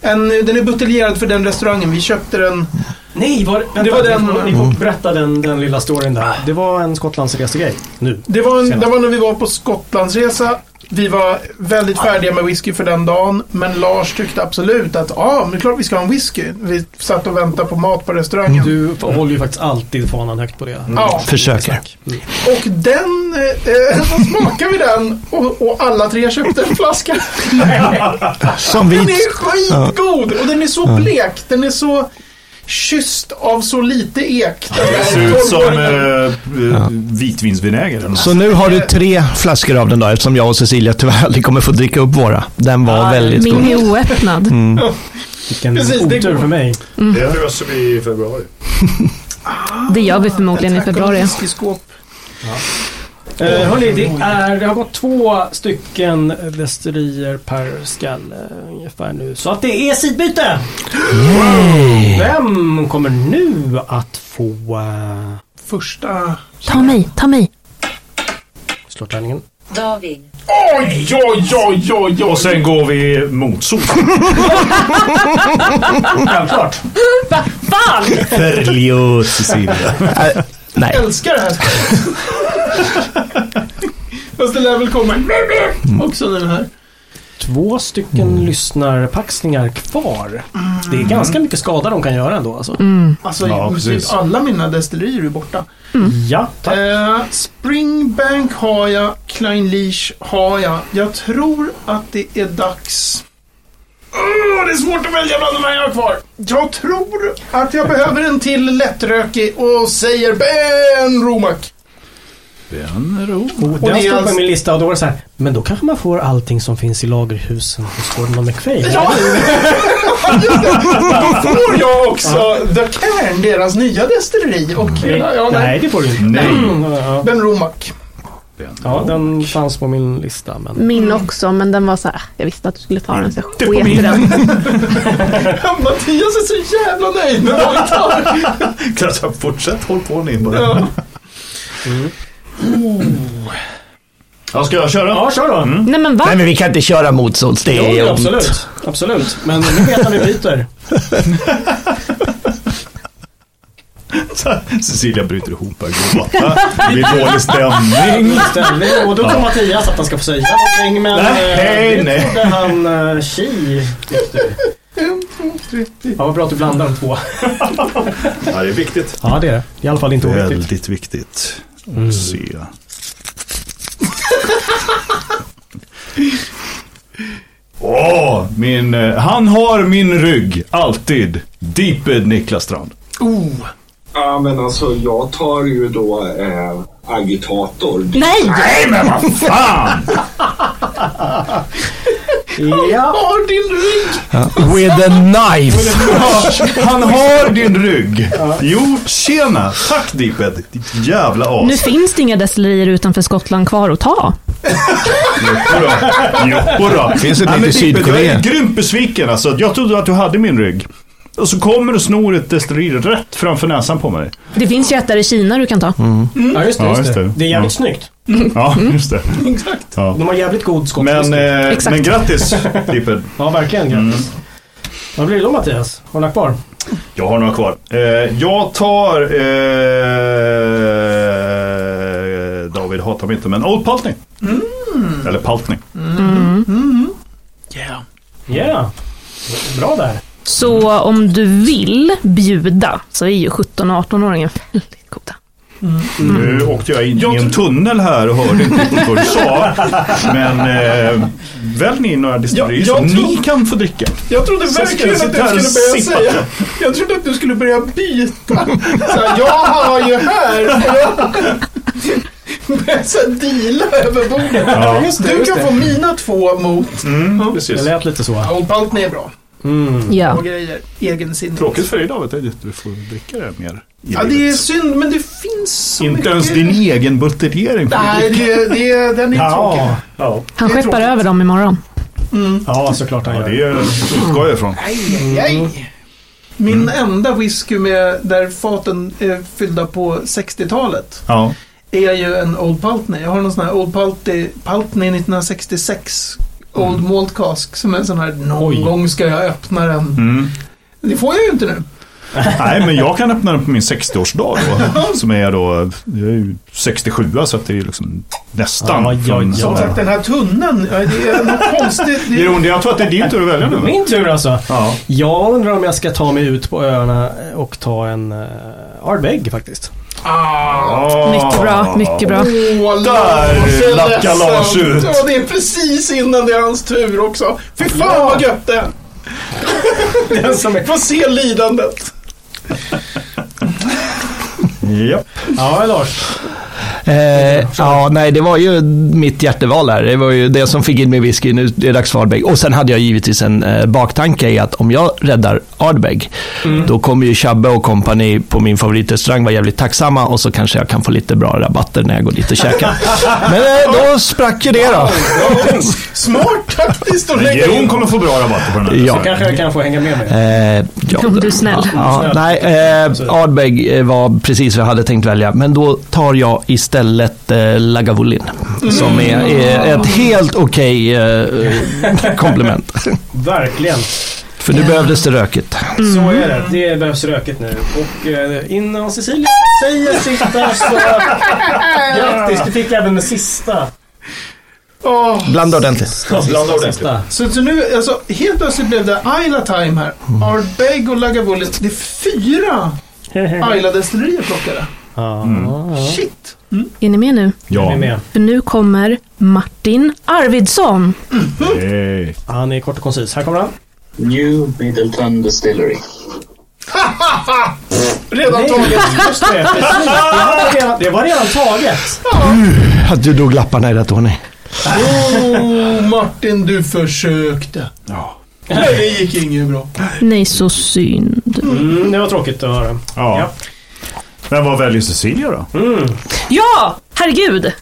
En, den är buteljerad för den restaurangen. Vi köpte den. Nej, var, vänta, Det var den- Ni får berätta den, den lilla storyn där. Det var en Skottlandsresegrej. Nu. Det var, en, Senast. det var när vi var på Skottlandsresa. Vi var väldigt färdiga med whisky för den dagen. Men Lars tyckte absolut att ja, ah, men det är klart vi ska ha en whisky. Vi satt och väntade på mat på restaurangen. Mm. Du håller ju faktiskt alltid fanan högt på det. Ja, Försöker. Mm. och den, eh, då smakade vi den och, och alla tre köpte en flaska. Som Den vi... är skitgod och den är så blek. Den är så kysst av så lite ek. Den Det här ser ut som tolvåringen. eh, eh, vitvinsvinäger. eller något. Så nu har du tre flaskor av den då eftersom jag och Cecilia tyvärr aldrig kommer få dricka upp våra. Den var Ah, väldigt god. Min är oöppnad. Vilken Precis, det otur går. för mig. Det röstar vi i februari. Det gör vi förmodligen i Tack om februari. whiskyskåp. Eh, hörni, det, är, det har gått två stycken västerier per skalle ungefär nu. Så att det är sidbyte! Vem kommer nu att få eh, Första... Ta mig, ta mig. slå tärningen? David. Oj, oj, oj, oj, Och sen går vi mot sol. Mm. Självklart. Fan! Förlåt Cecilia. Äh, nej. Älskar det här spelet. Fast det lär väl komma också den här. Mm. Mm. Två stycken lyssnarpaxningar kvar. Det är ganska mycket skada de kan göra ändå alltså. Alltså, Ja, precis. precis. alla mina destillerier är borta. Ja, tack. Eh, Springbank har jag, Klein Leash har jag. Jag tror att det är dags... Åh, det är svårt att välja bland de här jag har kvar. Jag tror att jag behöver en till lättrökig och säger Ben Romack. Den ro. Och det är Oh, den stod på alltså- min lista och då var det så här, men då kanske man får allting som finns i lagerhusen hos Gordon och McVeigh. Ja! Just det. Då får jag också The Cairn, deras nya destilleri. Och, ja, ja, nej. Nej, det får du inte. Nej. Mm, ja. Ben Romack. Ja, den fanns på min lista. Men... Min också, men den var så här. Jag visste att du skulle ta den, så jag sket i den. Mattias är så jävla nöjd med vad vi tar. Kanske Alltså, fortsätt håll på ni bara. Mm. Ja. Ja, ska jag köra? Ja, kör då. Nej men va? nej, men vi kan inte köra motsols. Det är Jo, ont. absolut. absolut. Men nu vet han vi bryter. Cecilia bryter ihop här. går bara. Det blir dålig stämning. Ställning. Och då kom Mattias att han ska få säga någonting. Men Nej, eh, det nej. trodde han eh, tji. tyckte. Ja, vad bra att du blandar de två. Ja, det är viktigt. Ja, det är det. I alla fall inte oviktigt. Väldigt viktigt. Mm. Att se. Åh, min, eh, han har min rygg, alltid. Deeped Niklas Strand. Ja, men alltså jag tar ju då eh, agitator. Nej! Nej men vad fan! Ja. Har din rygg. With a knife. Han har din rygg. Jo, tjena. Tack Deeped. Ditt jävla as. Nu finns det inga destillerier utanför Skottland kvar att ta. Jodå. Jodå. Finns det Nej, inte men i Dippe, Jag Sydkorea? är grymt besviken alltså. Jag trodde att du hade min rygg. Och så kommer du och snor ett destilleri rätt framför näsan på mig. Det finns ju ett där i Kina du kan ta. ja, just det. Ja, Just just det. det. det är jävligt Ja. snyggt. Ja, Mm. just det. Exakt. Ja. De har jävligt god skottfisk. Men, eh, Exakt. men grattis Dippe. Ja, verkligen. Mm. Grattis. Vad blir det då Mattias? Har du några kvar? Jag har några kvar. Eh, jag tar... Eh, David hatar mig inte, men Old Paltney. Mm. Eller Paltney. Ja. Bra där. Så om du vill bjuda så är ju 17 och 18-åringen väldigt goda. Mm. Nu åkte jag in i en tunnel här och hörde inte riktigt vad du sa. Men eh, välj ni några destillerier Ja, som jag tror- ni kan få dricka. Jag trodde Så ska verkligen jag att du sitta här skulle och sippa. börja säga... Jag trodde att du skulle börja byta. Så här, jag har ju här... och jag- Börja så här deala över bordet. Ja. du kan få mina två mot... Precis. Mm, Det lät lite så. Old Paltney är bra. Mm. Ja. och grejer. Egensinnigt. Tråkigt för dig David, är att du får dricka det här mer. i Ja, det är livet. synd, men det finns så mycket. Inte ens din egen buteljering. Nej, det, det, den är tråkig. Ja, ja. Han Det är skeppar tråkigt. över dem imorgon. ja, såklart han Ja, gör. det är- utgår jag ifrån. Aj, aj, Mm. aj. Min enda whisky med, där faten är fyllda på 60-talet Ja. är ju en Old Paltney. Jag har någon sån här Old Paltney, Paltney 1966 Old Malt Cask som är en sån här någon Mm. Oj. gång ska jag öppna den. Mm. Det får jag ju inte nu. Nej, men jag kan öppna den på min 60-årsdag då. Som är då, jag är ju 67 så att det är liksom nästan. Aj, aj, från- aj. Som sagt, den här tunnan, ja, det är något konstigt. Det, Jeroen, jag tror att det är din tur att välja nu. va? Min tur alltså. Ja. Jag undrar om jag ska ta mig ut på öarna och ta en uh, Ardbeg faktiskt. ah, Mycket bra, mycket bra. åh, Där så lackar ledsamt. Lars ut. Ja, det är precis innan det är hans tur också. Fy fan vad gött det är. Den som är... Få se lidandet. Japp. Ja, Lars. Eh, ja, nej, det var ju mitt hjärteval här. Det var ju det som fick in mig i whisky. Nu är det dags för Ardbeg. Och sen hade jag givetvis en eh, baktanke i att om jag räddar Ardbeg, då kommer ju Chabbe och kompani på min favoritrestaurang vara jävligt tacksamma och så kanske jag kan få lite bra rabatter när jag går dit och käkar. Men eh, då sprack ju det då. Smart taktiskt att lägga Jeroen in. kommer få bra rabatter på den här. Ja. Så Kanske jag kan få hänga med mig. Eh, ja, Om du är snäll. Ja, nej, eh, Ardbeg eh, var precis vad jag hade tänkt välja. Men då tar jag istället eh, Lagavulin. Som är, är ett helt okej eh, komplement. Verkligen. För nu behövdes det rökigt. Mm. Så är det. Mm. Det behövs röket nu. Och eh, innan Cecilia säger sista så... Grattis, du fick även den sista. Åh. Blanda ordentligt. Ja, blanda ordentligt. sista. Så, så nu, alltså, helt plötsligt blev det Isla Time här. Mm. Ardbeg och Lagavulin. Det är fyra Isla-destillerier plockade. Ja, Shit. Är ni med nu? jag är Ja. med. För nu kommer Martin Arvidsson. Hej. Han är kort och koncis. Här kommer han. New Middleton Distillery. Redan Nej, taget. just det. Precis. Det var redan- Det var redan taget. Att du drog lapparna i rätt ordning. Oh, Martin, du försökte. Ja. Nej, det gick inget bra. Nej, så synd. Mm, det var tråkigt att höra. ja. Men vad väljer Cecilia då? Ja, herregud.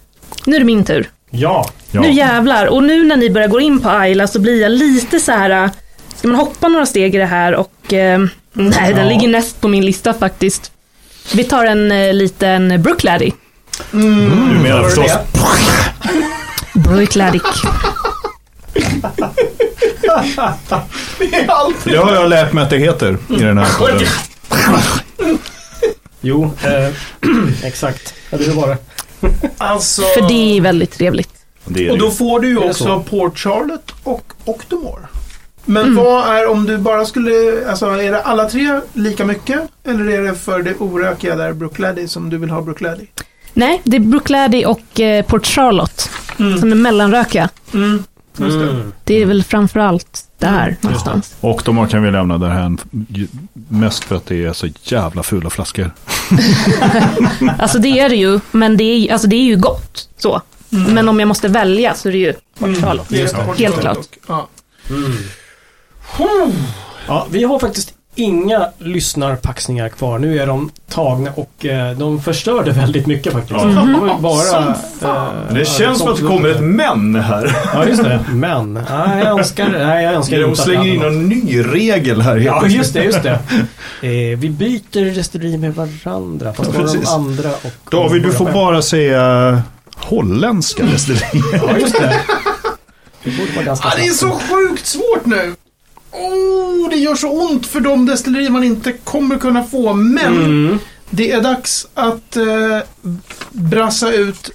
Nu är det min tur. Ja. Ja. Nu jävlar. Och nu när ni börjar gå in på Ayla så blir jag lite så här. äh, Ska man hoppa några steg i det här och... Eh, nej, den ligger näst på min lista faktiskt. Vi tar en eh, liten Brookladdy. Du menar förstås Brookladdy. Det har jag lärt mig att det heter i den här podden. Jo, eh, exakt. Ja, det var det. Alltså, För det är väldigt trevligt. Det är och det då ju. får du ju Är det också så? Port Charlotte och Octomore. Men Mm. vad är om du bara skulle, alltså är det alla tre lika mycket? Eller är det för det orökiga där Brookladdy som du vill ha Brookladdy? Nej, det är Brookladdy och eh, Port Charlotte som är mellanröka. Mm. Just det. Det är väl framför allt där någonstans. Och de här kan vi lämna därhän. ju- Mest för att det är så jävla fula flaskor. Alltså det är det ju, men det är, alltså det är ju gott. Så. Mm. Men om jag måste välja så är det ju Port Charlotte. Det är Port Helt Charlotte klart. och- Mm. Ja. Ja, vi har faktiskt inga lyssnarpaxningar kvar. Nu är de tagna och eh, de förstörde väldigt mycket faktiskt. Ja. De var ju bara... Som fan. eh, män här. Ja, just det. Men, nej, jag önskar, nej, jag önskar De inte att slänger det in hade något. någon ny regel här helt Ja, plötsligt. just det, just det. Eh, vi byter restaurang med varandra. Fast Ja, bara de precis. andra och... David, du får Ja, bara säga holländska restauranger. Ja, just det. Det borde vara ganska Ja, det är så sjukt svårt nu. Oh, det gör så ont för de destillerier man inte kommer kunna få. Men Mm. det är dags att eh, brassa ut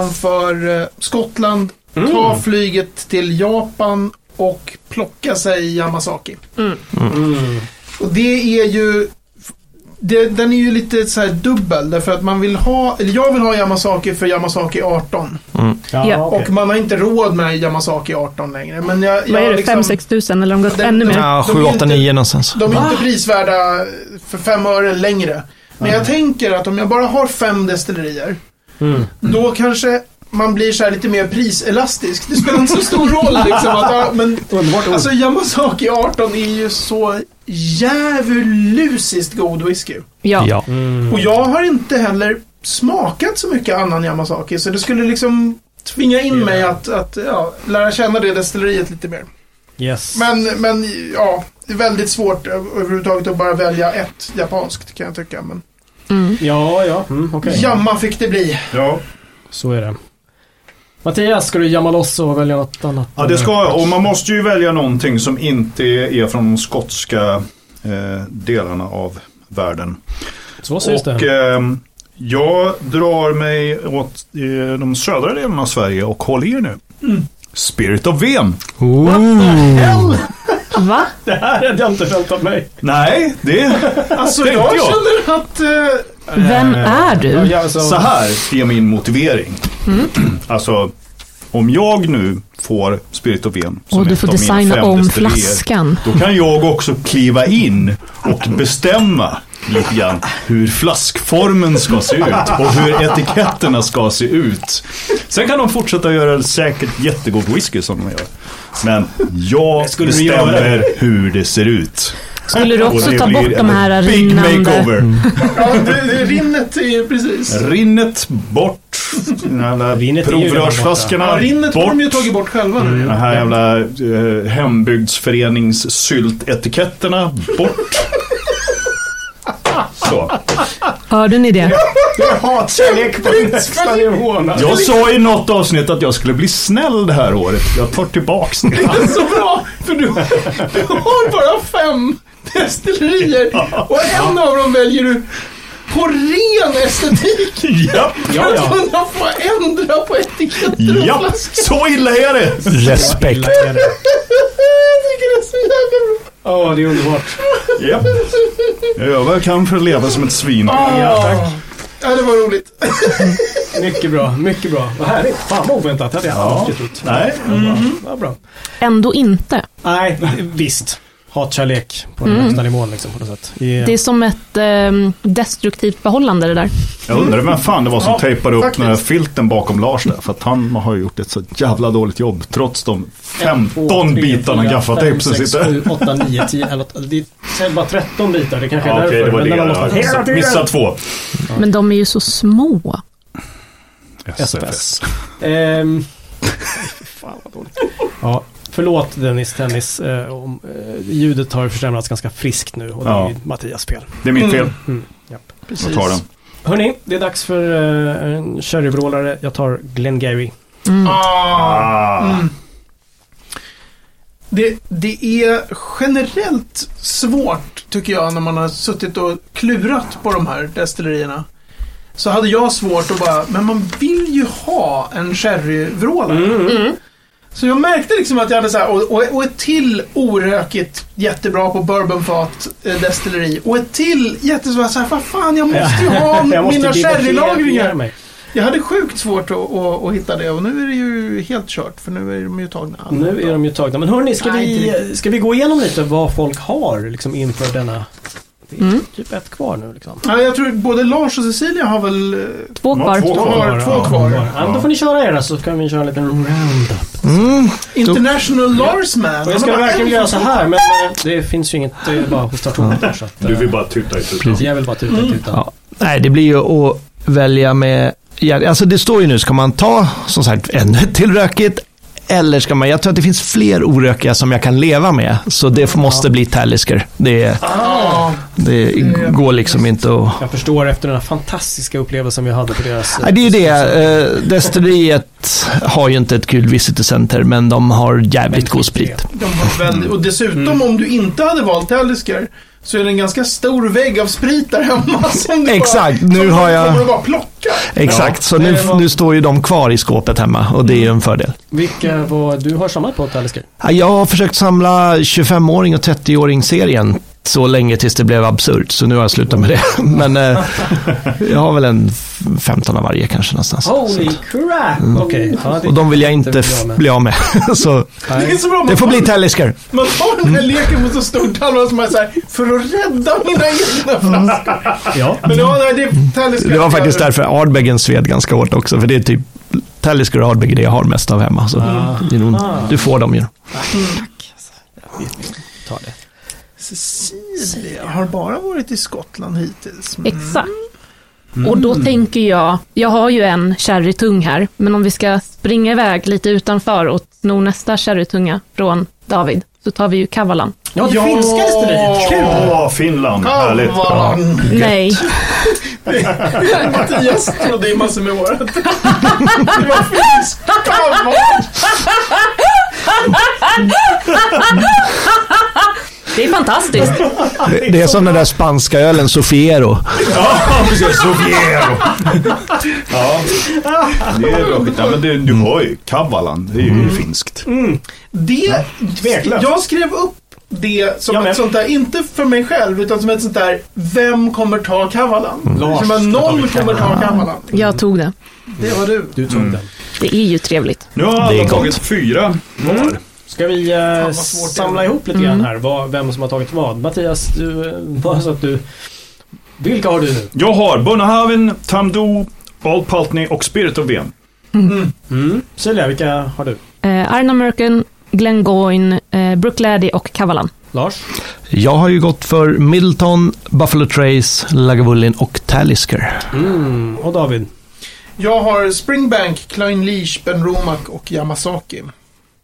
utanför eh, Skottland, Mm. ta flyget till Japan och plocka sig Yamazaki. Mm. Och det är ju... Det, den är ju lite så här dubbel därför att man vill ha, eller jag vill ha Yamazaki för Yamazaki 18. Ja, Ja. okej. Och man har inte råd med Yamazaki 18 längre. Men jag, jag Vad är det, liksom- 5-6 tusen eller har de gått Den- ännu mer? Ja, De 7, är 8, inte- 9 någonstans. De är inte prisvärda för fem öre längre. Men jag tänker att om jag bara har fem destillerier, Mm. då kanske man blir så här lite mer priselastisk. Det spelar inte så stor roll liksom. Att, ja, men, Underbart ord. alltså Yamasaki 18 är ju så djävulusiskt god whisky. Ja. Ja. Och jag har inte heller smakat så mycket annan Yamasaki. Så det skulle liksom tvinga in mig att, att ja, lära känna det destilleriet lite mer. Yes. Men, men ja, det är väldigt svårt över- överhuvudtaget att bara välja ett japanskt kan jag tycka. Men Mm. Ja, ja. Mm, okej. jamma fick det bli. Ja. Så är det. Mattias, ska du jamma loss och välja något annat? ja, det ska jag. Och man måste ju välja någonting som inte är från de skotska eh, delarna av världen. Så syns och det. ehm, jag drar mig åt eh, de södra delarna av Sverige och håll er nu. Mm. Spirit of Ven. Va? Det här hade jag inte väntat mig. Nej, det Alltså Tänkte jag jag. känner att... eh, Vem är du? Ja, alltså, Så här är min motivering. Mm. Alltså, om jag nu får Spirit of Ven som Och du ett får av mina designa fem om destillerier, flaskan. Då kan jag också kliva in och bestämma lite grann hur flaskformen ska se ut och hur etiketterna ska se ut. Sen kan de fortsätta göra säkert jättegod whisky som de gör. Men jag Skulle du göra bestämmer hur det ser ut. Skulle du Och också det ta blir bort de en här Big rinnande... Mm. makeover. Ja, det, det rinnet är ju precis. Rinnet bort. Den jävla Rinnet är ju redan provrörsflaskorna Ja, rinnet har de ju tagit bort själva nu. Den här jävla eh, hembygdsföreningssyltetiketterna bort. Så. Hörde ni det? hatkärlek på högsta nivån. Jag sa i något avsnitt att jag skulle bli snäll det här året. Jag tar tillbaks det. Det är så bra, för du, du har bara fem destillerier och en av dem väljer du på ren estetik. Japp, För att kunna få ändra på etiketter och japp, flaskor. så illa är det. Respekt. Jag tycker det är så jävla bra. Ja, det är underbart. Japp. Jag gör vad jag kan för att leva som ett svin. Ja, tack. Ja, det var roligt. Mycket bra, mycket bra. Vad härligt. Fan vad oväntat. Det hade jag Ja. aldrig trott. Nej, Vad bra. Ändå inte. Nej, visst. Hatkärlek på den högsta nivån liksom på något sätt. I- Det är som ett ehm, destruktivt förhållande det där. jag undrar vem fan det var som Ja, tejpade upp faktiskt. den här filten bakom Lars där. För att han har ju gjort ett så jävla dåligt jobb trots de 15 bitarna gaffatejp som sitter. 7, 8, 9, 10, 11, det är bara 13 bitar. Det kanske är Ja, därför. Okej, det var men det. den har Jag någonstans- missade- Missade två. Men de är ju så små. SFS. Ehm, fy fan vad dåligt. Ja, förlåt Dennis Tennis. Eh, om, eh, ljudet har försämrats ganska friskt nu och det Ja. är Mattias fel. Det är mitt fel. Mm. Japp. Jag tar den. Hörni, det är dags för eh, en sherryvrålare. Jag tar Glengarry. Ah. Ah. Det, det är generellt svårt, tycker jag, när man har suttit och klurat på de här destillerierna. Så hade jag svårt att bara, men man vill ju ha en sherryvrålare. Mm. Så jag märkte liksom att jag hade så här, och, och, och ett till orökigt, jättebra på bourbonfat eh, destilleri. Och ett till jättesvårt, så här, vad fan, jag måste ju ha Jag måste mina diversifiera sherrylagringar. mig. Jag hade sjukt svårt att, att, att hitta det och nu är det ju helt kört för nu är de ju tagna. alla. Nu är de ju tagna. Men hörni, ska, Nej, inte vi, ska vi gå igenom lite vad folk har liksom inför denna... Det är Mm. typ ett kvar nu liksom. Ja, jag tror både Lars och Cecilia har väl... eh, Två Ja, kvar. två De kvar. har två kvar. Ja, men då får ni köra era så kan vi köra en liten roundup. International Lars Man. Och jag ska Han har verkligen en- göra så här men eh, det finns ju inget, det är bara hostar tomt här så att... eh, Du vill bara tuta i tutan. så Jag vill bara tuta tuta. Ja. Nej, det blir ju att välja med... ja, Alltså det står ju nu, ska man ta som sagt ännu ett till rökigt? Eller ska man... Jag tror att det finns fler orökiga som jag kan leva med. Så det måste bli Talisker. Det, Ja. Ah. det går liksom inte att... Jag förstår efter den här fantastiska upplevelsen vi hade på deras... eh, Nej, det är ju det. Eh, Destilleriet har ju inte ett kul visitorcenter, men de har jävligt god sprit. De har väldigt, och dessutom Mm. om du inte hade valt Talisker så är det en ganska stor vägg av sprit där hemma som du Exakt, bara, nu som har du jag- kommer att bara plocka. Exakt, så nu, nu står ju de kvar i skåpet hemma och det är ju en fördel. Vilka var... Du har samma på Talisker? Ja, Jag har försökt samla 25-åring och 30-åring-serien så länge tills det blev absurt, så nu har jag slutat med det. Men eh, jag har väl en f- 15 av varje kanske någonstans. Holy crap! Mm. Okej. Ja, det- Och de vill jag det inte vill f- jag med. bli av med. Så Det är så bra. det Man, får bli Mm. Talisker. man tar den här leken på så stor tallrik som man säger för att rädda mina egna flaskor. Ja. Mm. Men ja, nej, det är Talisker. Det var faktiskt därför Ardbeggen sved ganska hårt också, för det är typ Tallisker och Hardbigger är det jag har mest av hemma. Så det är nog, Ah. Du får dem ju. Ta det. Cecilia har bara varit i Skottland hittills. men- Exakt. Och då tänker jag, jag har ju en sherrytung här, men om vi ska springa iväg lite utanför och sno nästa sherrytunga från David, så tar vi ju kavalan. Ja, det finska destilleriet. Kul! Åh, Finland, härligt. Ja. Nej, Mattias trodde i massor med året. Det var finsk kaval. det är fantastiskt. Det, det är som den där spanska ölen Sofiero. Ja, precis. Sofiero. Ja, det är bra skit. Ja, men du, du har ju Kavalan, det är ju Mm. finskt. Det, Tveklöst. jag skrev upp det som Jag med. ett sånt där, inte för mig själv, utan som ett sånt där, vem kommer ta kavalan? Mm. Lars Som att ska ta någon vid kommer ta kavalan. Jag tog det. Det var du. Du Mm. tog den. Det är ju trevligt. Nu har Det är alla gott. tagit fyra var. Ska vi eh, vad svårt det är. samla ihop lite grann här, vad, vem som har tagit vad? Mattias, du, eh, bara så att du... Vilka har du nu? Jag har Bunnahavin, Tamdo, Alpaltni och Spirit of Ven. Mm. Celia, vilka har du? Eh, Arna Merkin, Glenn Goyne, eh, Brooke Laddie och kavalan. Lars? Jag har ju gått för Milton, Buffalo Trace, Lagavulin och Talisker. Mm. Och David? Jag har Springbank, Klein Leash, Ben Romak och Yamasaki.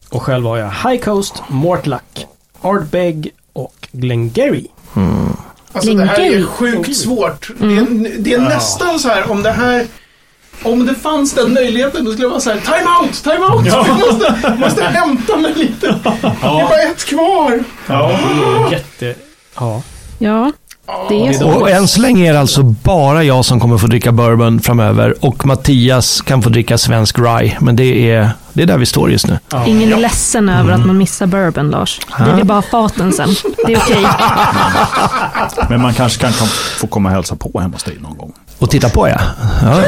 Och själv har jag High Coast, Mortlack, Ardbeg och Glengarry. Alltså det här är Linkel. sjukt svårt. Det är, det är nästan så här, om det här... Om det fanns den möjligheten, då skulle jag vara så här, time out, time out! Jag måste, måste hämta mig lite. Det är bara ett kvar. Ja. Jätte... Ja. Ja, det är så. Och än så länge är det alltså bara jag som kommer få dricka bourbon framöver och Mattias kan få dricka svensk rye. Men det är, det är där vi står just nu. Ingen är ledsen över att man missar bourbon, Lars. Det är bara faten sen. Det är okej. Men man kanske kan kan få komma och hälsa på hemma hos dig någon gång. Och titta på ja. ja.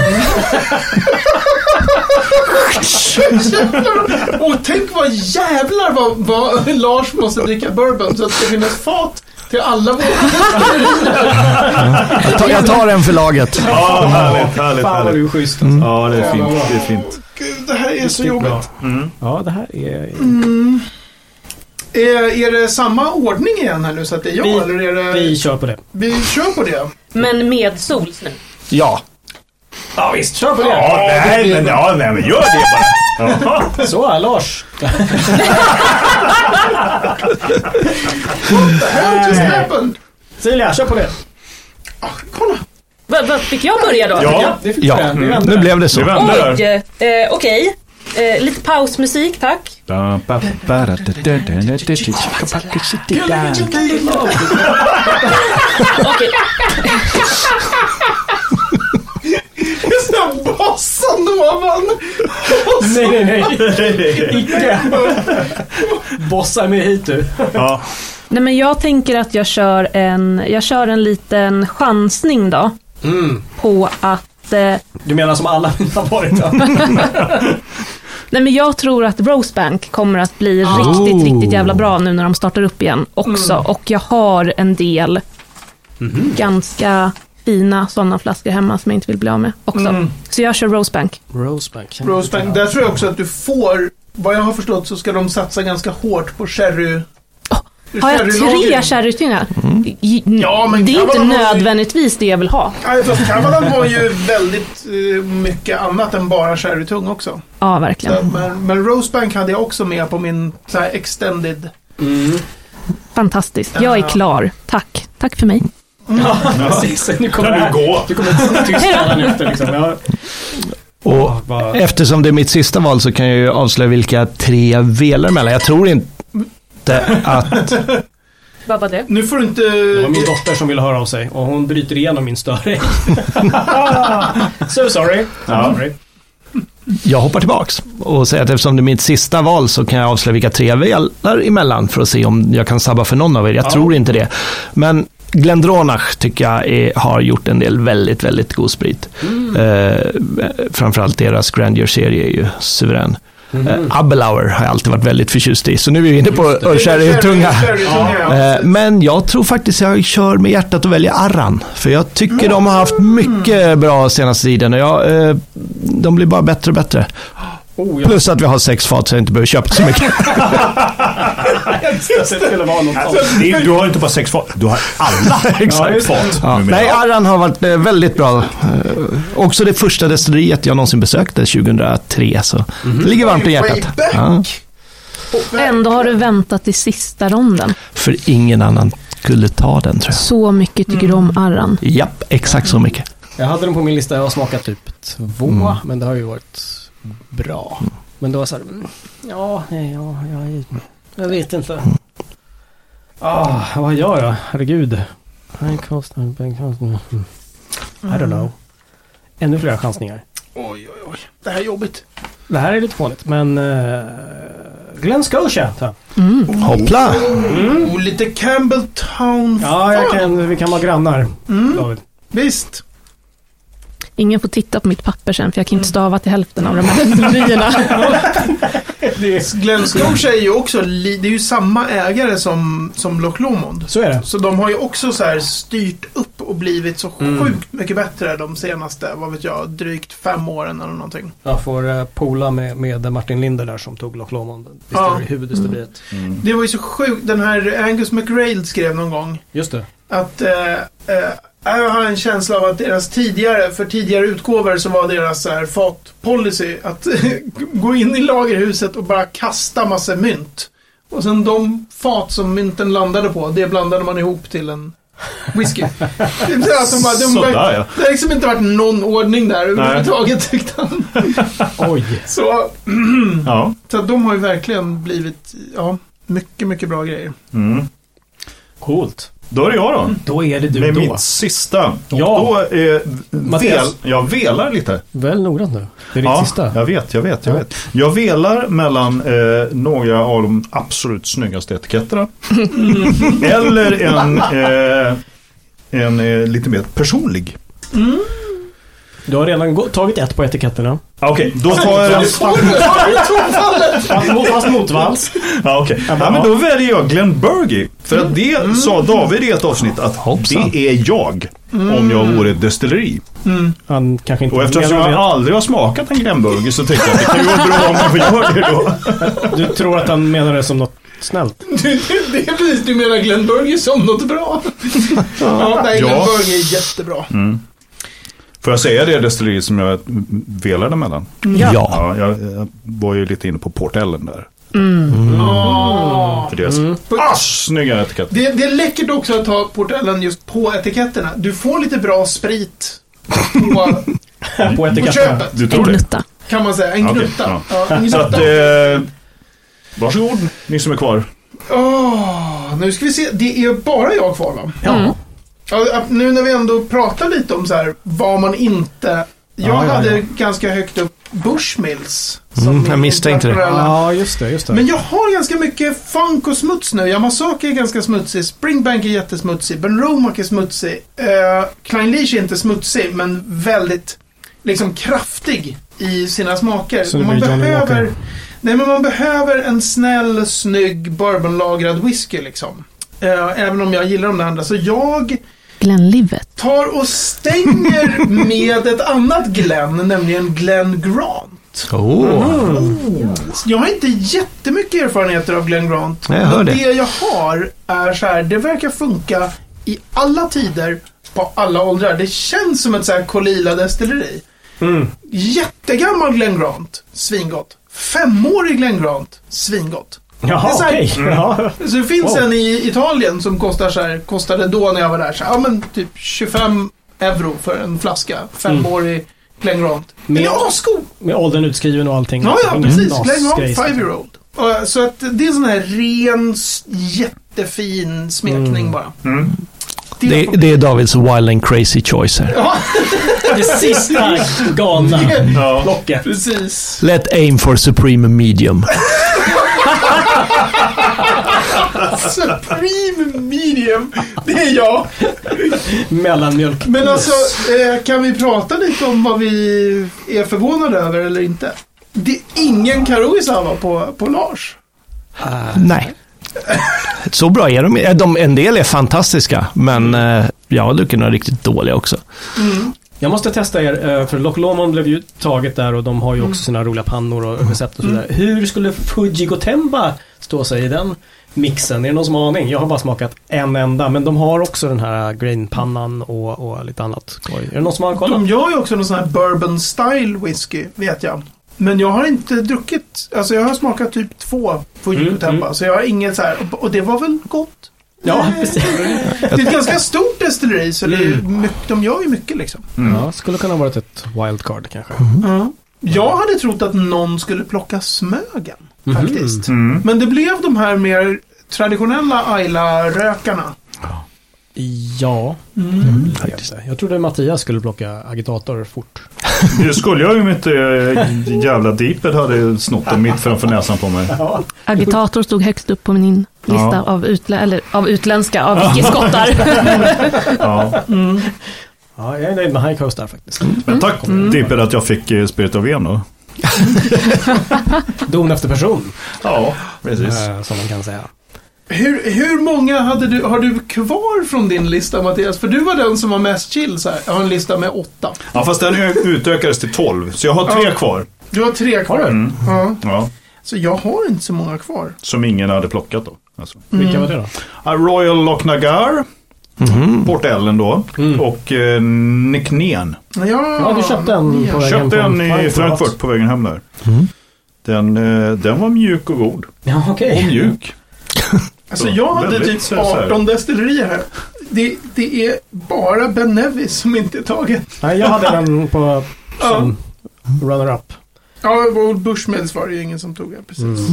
Och tänk vad jävlar vad, vad Lars måste dricka bourbon så att det ska finnas fat till alla våra. Jag, tar, jag tar en för laget. Ja, härligt, härligt, Fan vad du härligt. är schysst. Ja, det är fint. Det är fint. Gud, det här är så jobbigt. Bra. Ja, det här är... Är, är det samma ordning igen här nu så att det är jag Vi- eller är det... Vi Vi, kör på det. kör på det. Men med sols nu. Ja. Ja, visst. Kör på det. Ja, nej, men, ja, nej, men gör det bara. Ja. Så, Lars. What just happened? Celia, kör på det. Ah, kolla! Fick jag börja då? Ja, det fick Ja, Mm. Vi vänder. nu blev det du så. vände där. eh, okej. Eh, lite pausmusik, tack. Okej. Just den bassen ovan! Nej, nej, nej. Icke. Bossa mig hit du. Ja, Nej, men jag tänker att jag kör en, jag kör en liten chansning då. På att... Eh, Mm. Du menar som alla mina har varit ja. nej, men jag tror att Rosebank kommer att bli riktigt, riktigt jävla bra nu när de startar upp igen också. Och jag har en del Mhm. ganska fina sådana flaskor hemma som jag inte vill bli av med också. Så jag kör Rosebank. Rosebank. Rosebank, där tror jag också att du får, vad jag har förstått så ska de satsa ganska hårt på sherry. Har jag tre Sherrylagring. sherrytyngar? Ja, men det är inte kan man ha- nödvändigtvis det jag vill ha. Nej, fast Kavalan var ju väldigt eh, mycket annat än bara sherrytung också. Ja, Så, verkligen. men, men Rosebank hade jag också med på min så här, extended. Fantastiskt. Jag är klar. Tack. Tack för mig. Precis. Nu kommer det kan du här. gå? Du kommer tyst alla nötter liksom. Ja. Och Ja, bara- eftersom det är mitt sista val så kan jag ju avslöja vilka tre jag velar mellan. Jag tror inte att... Vad var det? Nu får du inte... Det var min dotter som ville höra av sig och hon bryter igenom min störing. so sorry. Ja. sorry. Jag hoppar tillbaks och säger att eftersom det är mitt sista val så kan jag avslöja vilka tre jag velar emellan för att se om jag kan sabba för någon av er. Jag tror inte det. Men Glendronach tycker jag är, har gjort en del väldigt, väldigt god sprit. Eh, framförallt deras Grandeur-serie är ju suverän. Eh, Abelauer har jag alltid varit väldigt förtjust i, så nu är vi inne på ölsherrytunga. Sherrytunga, ja. Eh, Men jag tror faktiskt jag kör med hjärtat och väljer Arran. För jag tycker de har haft mycket bra senaste tiden. Och jag, eh, de blir bara bättre och bättre. Oh, jag Plus att vi har sex fat så jag inte behöver köpa så mycket. visste att det skulle vara något sånt. Alltså, Det är- Du har inte bara sex fat, du har alla Exakt. fat. Ja. numera. Nej, Arran har varit eh, väldigt bra. Eh, Också det första destilleriet jag någonsin besökte 2003. Så Mm. det Mhm. ligger varmt i hjärtat. Ja, Ändå har du väntat till sista ronden. för ingen annan skulle ta den tror jag. Så mycket tycker du Mm. om Arran. Japp, exakt så mycket. Jag hade den på min lista, jag har smakat typ två, men det har ju varit bra. Men då var jag så här, mm, ja, nej, ja, jag, jag vet inte. Ah, vad gör jag? Herregud. Ben Costner, Ben Costner. Mm. I don't know. Ännu fler chansningar. Oj, oj, oj. Det här är jobbigt. Det här är lite fånigt, men uh, Glenn Scotia tar jag. Hoppla! Och lite Campbelltown. Ja, jag kan, vi kan vara grannar. David. Visst. Ingen får titta på mitt papper sen, för jag Mm. kan inte stava till hälften av de här menyerna. Glenn Scotia är ju också, li- det är ju samma ägare som, som Loch Lomond. Så är det. Så de har ju också så här styrt upp och blivit så sjukt mycket bättre de senaste, vad vet jag, drygt fem åren eller någonting. Jag får eh, pola med, med Martin Linder där som tog Loch Lomond. Ja. Ja. Huvuddestilleriet. Det var ju så sjukt, den här Angus McRail skrev någon gång Just det. att eh, eh, jag har en känsla av att deras tidigare, för tidigare utgåvor så var deras så här fatpolicy att gå in i lagerhuset och bara kasta massa mynt. Och sen de fat som mynten landade på, det blandade man ihop till en whisky. Det är alltså bara, de Sådär ja. det har liksom inte varit någon ordning där överhuvudtaget tyckte han. Oj. Så, ja. så att de har ju verkligen blivit, ja, mycket, mycket bra grejer. Mm. Coolt. Då är det jag då. Då är det du Med Mm. då. mitt sista. Och Ja. Då, eh, vel, Mattias. jag velar lite. Väl noggrant nu. Det är ditt sista. jag vet, jag vet, jag vet. Jag velar mellan eh, några av de absolut snyggaste etiketterna. Eller en, eh, en eh, lite mer personlig. Du har redan gå- tagit ett på etiketterna. Ah, Okej, Alltså, då tar jag den. Fast, mot- fast motvalls. Ja, okej. ja, Mm. men då väljer jag Glenn Burgie. För att det sa David i ett avsnitt att Hoppsan. det är jag. Om jag vore ett destilleri. Han kanske inte Och eftersom Mm. jag menar aldrig har smakat en Glenn Burgie så tänkte jag att det kan ju vara bra om man får göra det då. det. Du tror att han menar det som något snällt. Du- Det är precis, du menar Glenn Burger som något bra. ja, nej, Glenn Ja. Mm. Burger är jättebra. Får jag säga det destilleri som jag velade mellan? Ja. Ja, jag, jag var ju lite inne på Port Ellen där. Mm. Ja. För deras mm. snygga etikett. Det, det är läckert också att ha portellen just på etiketterna. Du får lite bra sprit på, På på etiketterna. köpet, Du En tror det? gnutta. kan man säga. En Okej, gnutta. ja. Ja, en Så att, gnutta. eh, varsågod ni som är kvar. Åh, nu ska vi se. Det är bara jag kvar, va? Ja. Ja, att Nu när vi ändå pratar lite om så här, vad man inte... Jag Ja, ja, hade ja. ganska högt upp Bushmills. Mm, min jag misstänkte det. internationella- Ja, just det. Just det. Men jag har ganska mycket funk och smuts nu. Yamasaki är ganska smutsig, Springbank är jättesmutsig, Ben Romack är smutsig. Uh, Klein Leash är inte smutsig, men väldigt liksom kraftig i sina smaker. Så det man blir Johnny behöver... Walker. Nej, men man behöver en snäll, snygg, bourbonlagrad whisky liksom. Eh, även om jag gillar de där andra. Så jag Glenlivet. tar och stänger med ett annat Glenn, nämligen Glenn Grant. Oh, Jag har inte jättemycket erfarenheter av Glenn Grant. Nej, jag hör Men det. jag har är så här, det verkar funka i alla tider, på alla åldrar. Det känns som ett så här Kolila destilleri. Mm. Jättegammal Glenn Grant, svingott. Femårig Glenn Grant, svingott. Jaha, Det är så här- okej. Ja. Så det finns Wow. en i Italien som kostar så här, kostade då när jag var där, så här, ja men typ 25 euro för en flaska. Femårig Mm. Glenn Grant. Men Med- jag har skog. Med åldern utskriven och allting. Ja, ja Mm. liksom. precis. Nas- Glenn grejs. Grant, Five Year Old. Och, eh, Så att det är en sån här ren, s- jättefin smekning Mm. bara. Det, det, det är Davids wild and crazy choice här. Det sista galna Ja. locket. Precis. Let aim for supreme medium. Supreme Alltså, medium. Det är jag. Mellanmjölk. Men alltså, eh, kan vi prata lite om vad vi är förvånade över eller inte? Det är ingen Karuisawa på, på Lars. Nej. Så bra är de. Eh, de. En del är fantastiska, men eh, jag har druckit några riktigt dåliga också. Jag måste testa er, eh, för Loch Lomond blev ju taget där och de har ju Mm. också sina roliga pannor och recept och sådär. Hur skulle Fuji Gotemba stå sig i den mixen? Är det någon som har aning? Jag har bara smakat en enda, men de har också den här grainpannan och, och lite annat skoj. Är det någon som har kollat? De gör ju också någon sån här bourbon style whisky, vet jag. Men jag har inte druckit, alltså jag har smakat typ två Fuji Mm, mm, Så jag har inget så här, och det var väl gott. Ja, precis. Det är ett ganska stort destilleri så det är, ju mycket- de gör ju mycket liksom. Ja, skulle kunna ha varit ett wildcard kanske. Ja. Jag hade trott att någon skulle plocka Smögen. Mm. Faktiskt. Men det blev de här mer traditionella Ayla-rökarna. Ja, Mm, faktiskt. Jag trodde Mattias skulle plocka agitator fort. Det skulle jag ju om inte eh, jävla Deeped hade snott dem mitt framför näsan på mig. Agitator stod högst upp på min lista Ja. av, utlä- eller, av utländska, av icke-skottar. Ja. Ja, jag är nöjd med High Coast där faktiskt. Men tack Deeped att jag fick eh, Spirit of Eno. Don efter person, Ja, precis. eh, som man kan säga. Hur, hur många hade du, har du kvar från din lista Mattias? För du var den som var mest chill så här. Jag har en lista med åtta. Ja, fast den ö- utökades till 12, så jag har tre kvar. Du har tre kvar. Mm. Ja. Ja, Så jag har inte så många kvar. som ingen hade plockat då. Alltså. Vilka var det då? A Royal Lochnagar, Port Ellen då, och eh, Nicknén. Ja, Ja, du köpte Mm. en på vägen Köpte från en i Frankfurt på vägen hem där. Den, eh, den var mjuk och god. Ja, okej. Och mjuk. Alltså jag hade Väldigt typ så här. 18 destillerier här. Det, det är bara Ben Nevis som inte är taget. Nej, jag hade den på som runner-up. Ja, Old Bushmills var det ju ingen som tog. ja, Precis.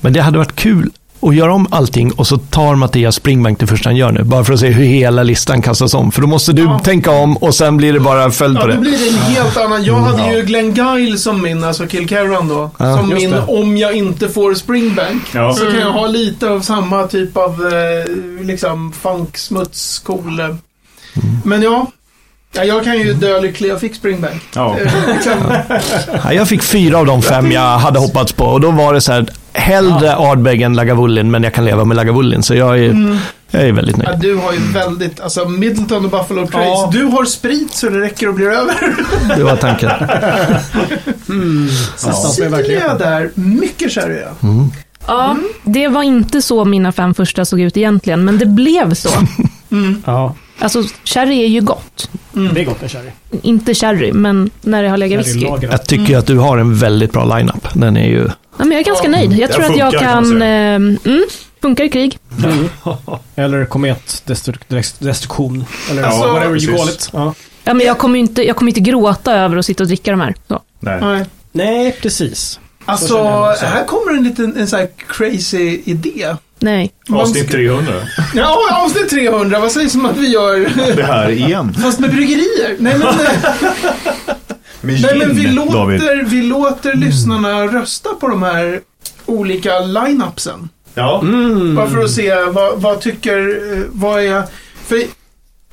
Men det hade varit kul att göra om allting och så tar Mattias Springbank det första han gör nu. Bara för att se hur hela listan kastas om. För då måste du tänka om och sen blir det bara en följd Ja, på då det. blir det en helt annan. Jag hade ju Glengyle som min, alltså Kilkerran då. som just min, det. om jag inte får Springbank. Ja. Så kan jag ha lite av samma typ av, eh, liksom, funk, smuts, cool. eh. Men ja. Ja, jag kan ju dö lycklig jag fick Springbank. Ja. Eh, liksom. Ja, jag fick fyra av de fem jag hade hoppats på och då var det så här, hellre Ardbeg än Lagavulin, men jag kan leva med Lagavulin. Så jag är, Mm. jag är väldigt ja, nöjd. du har ju väldigt, alltså Middleton och Buffalo Trace. Du har sprit så det räcker och blir över. Det var tanken. Nästan som i Silja verkligheten. där, mycket sherry. ja. Mm. ja, det var inte så mina fem första såg ut egentligen, men det blev så. Ja, Mm. Alltså, sherry är ju gott. det är gott med sherry. Inte sherry, men när det har legat whisky. Sherrylagret. Jag tycker ju att du har en väldigt bra lineup. Den är ju... Ja, men jag är ganska nöjd. Jag det tror att jag funkar, kan man kan... säga. Eh, mm, funkar i krig. Mm. Eller kometdestruktion. Eller Ja, whatever precis. you call it. Ja. Ja, men jag kommer ju inte, jag kommer inte gråta över att sitta och dricka de här. Så. Nej. Nej. Nej, precis. Så Alltså, känner jag också. här kommer en liten en så här crazy idé. Nej. Avsnitt 300. Ja, avsnitt 300. Vad sägs om att vi gör, Det här igen. fast med bryggerier? Nej, men, Med nej, men vi, gin, David. låter, vi låter lyssnarna rösta på de här olika line-upsen. Ja. Bara för att se vad, vad tycker, eh, vad är... För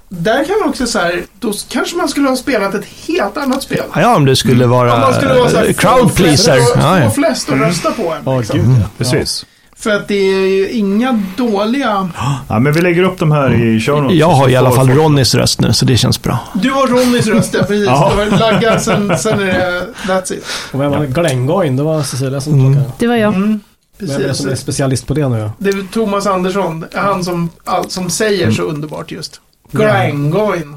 där kan man också så här, då kanske man skulle ha spelat ett helt annat spel. Ja, om du skulle vara, Mm. Om man skulle vara så här, eh, crowd pleaser. Ah, Få, Ja, få ja. flest att rösta på en. Ja, liksom. gud Mm. ja. Precis. För att det är ju inga dåliga... Ja, men vi lägger upp de här i show notes. Jag har i alla Så får fall folk- Ronnys röst nu, så det känns bra. Du har Ronnys röst, ja precis. Ja. Du har laggat, sen, sen är det... That's it. Och vem var det? Glengoyne, det var Cecilia som plockade. Det var jag. Mm, Vem är det som är precis. specialist på det nu? Det är Thomas Andersson, han som, all, som säger så underbart just. Ja. Grangoin.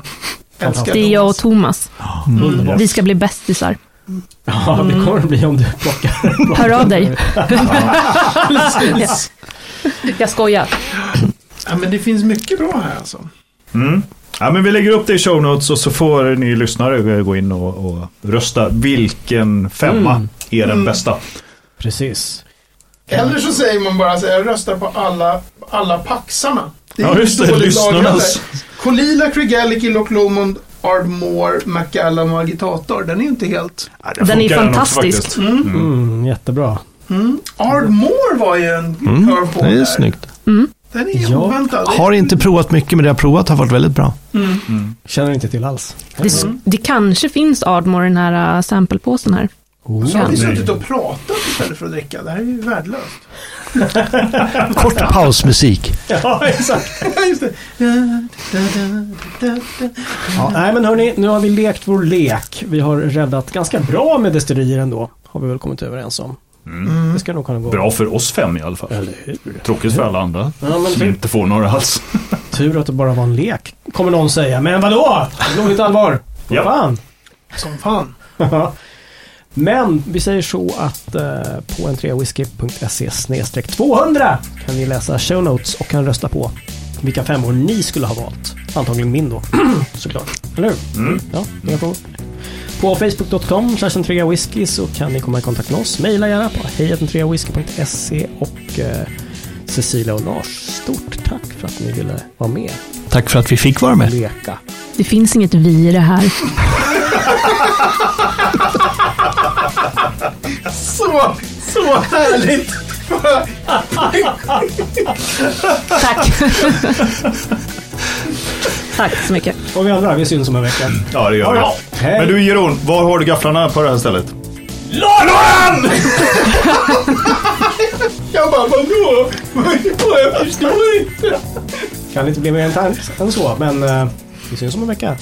Älskar Det är jag och Thomas. Thomas. Underbart. Vi ska bli bästisar. Ja, det kommer det bli om du plockar. Hör av dig. jag skojar. Ja, men det finns mycket bra här alltså. Mm. Ja, men vi lägger upp det i show notes och så får ni lyssnare gå in och, och rösta. Vilken femma Mm. är den bästa? Precis. Eller så säger man bara så här, jag röstar på alla, alla paxarna. Mm. Det är Ja, ju just det, dåligt lyssnarnas. lagat där. Kolila, Kregaliki, Loch Lomond, Ardmore, McAllam och Agitator. Den är ju inte helt... Ja, Den är funkar också fantastisk. faktiskt. Mm, jättebra. Ardmore var ju en Mm, curveball det är där. snyggt. Den är Ja. oväntad. Har inte provat mycket, men det jag har provat har varit väldigt bra. Känner inte till alls. Det, s- det kanske finns Ardmore i den här äh, samplepåsen här. Så har vi Oh. Nej. suttit och pratat istället för att dricka. Det här är ju värdelöst. Kort pausmusik. Ja, exakt. Just det. Ja, nej, men hörni, nu har vi lekt vår lek. Vi har räddat ganska bra med destillerier ändå, har vi väl kommit överens om. Det ska nog kunna gå. Bra för oss fem i alla fall. Eller hur? Tråkigt för alla andra Ja, men som typ. inte får några alls. Tur att det bara var en lek, kommer någon säga. Men vadå? Det är roligt allvar. Ja. Ja. Fan. Som fan. Ja. Men vi säger så att eh, på entreawhisky.se 200 kan ni läsa show notes och kan rösta på vilka femmor ni skulle ha valt. Antagligen min då, såklart. Eller hur? Ja, inga frågor. På facebook.com whisky så kan ni komma i kontakt med oss. Maila gärna på hejatentreawhisky.se och eh, Cecilia och Lars, stort tack för att ni ville vara med Tack för att vi fick vara och med. leka. Det finns inget vi i det här. Så, så härligt! Tack. Tack så mycket. Och vi andra, vi syns om en vecka. Ja, det gör Ja, vi. ja. Hej. Men du Jeroen, var har du gafflarna på det här stället? Jag bara, vadå? Jag förstår inte. Kan inte bli mer internt än så, men eh, vi syns om en vecka.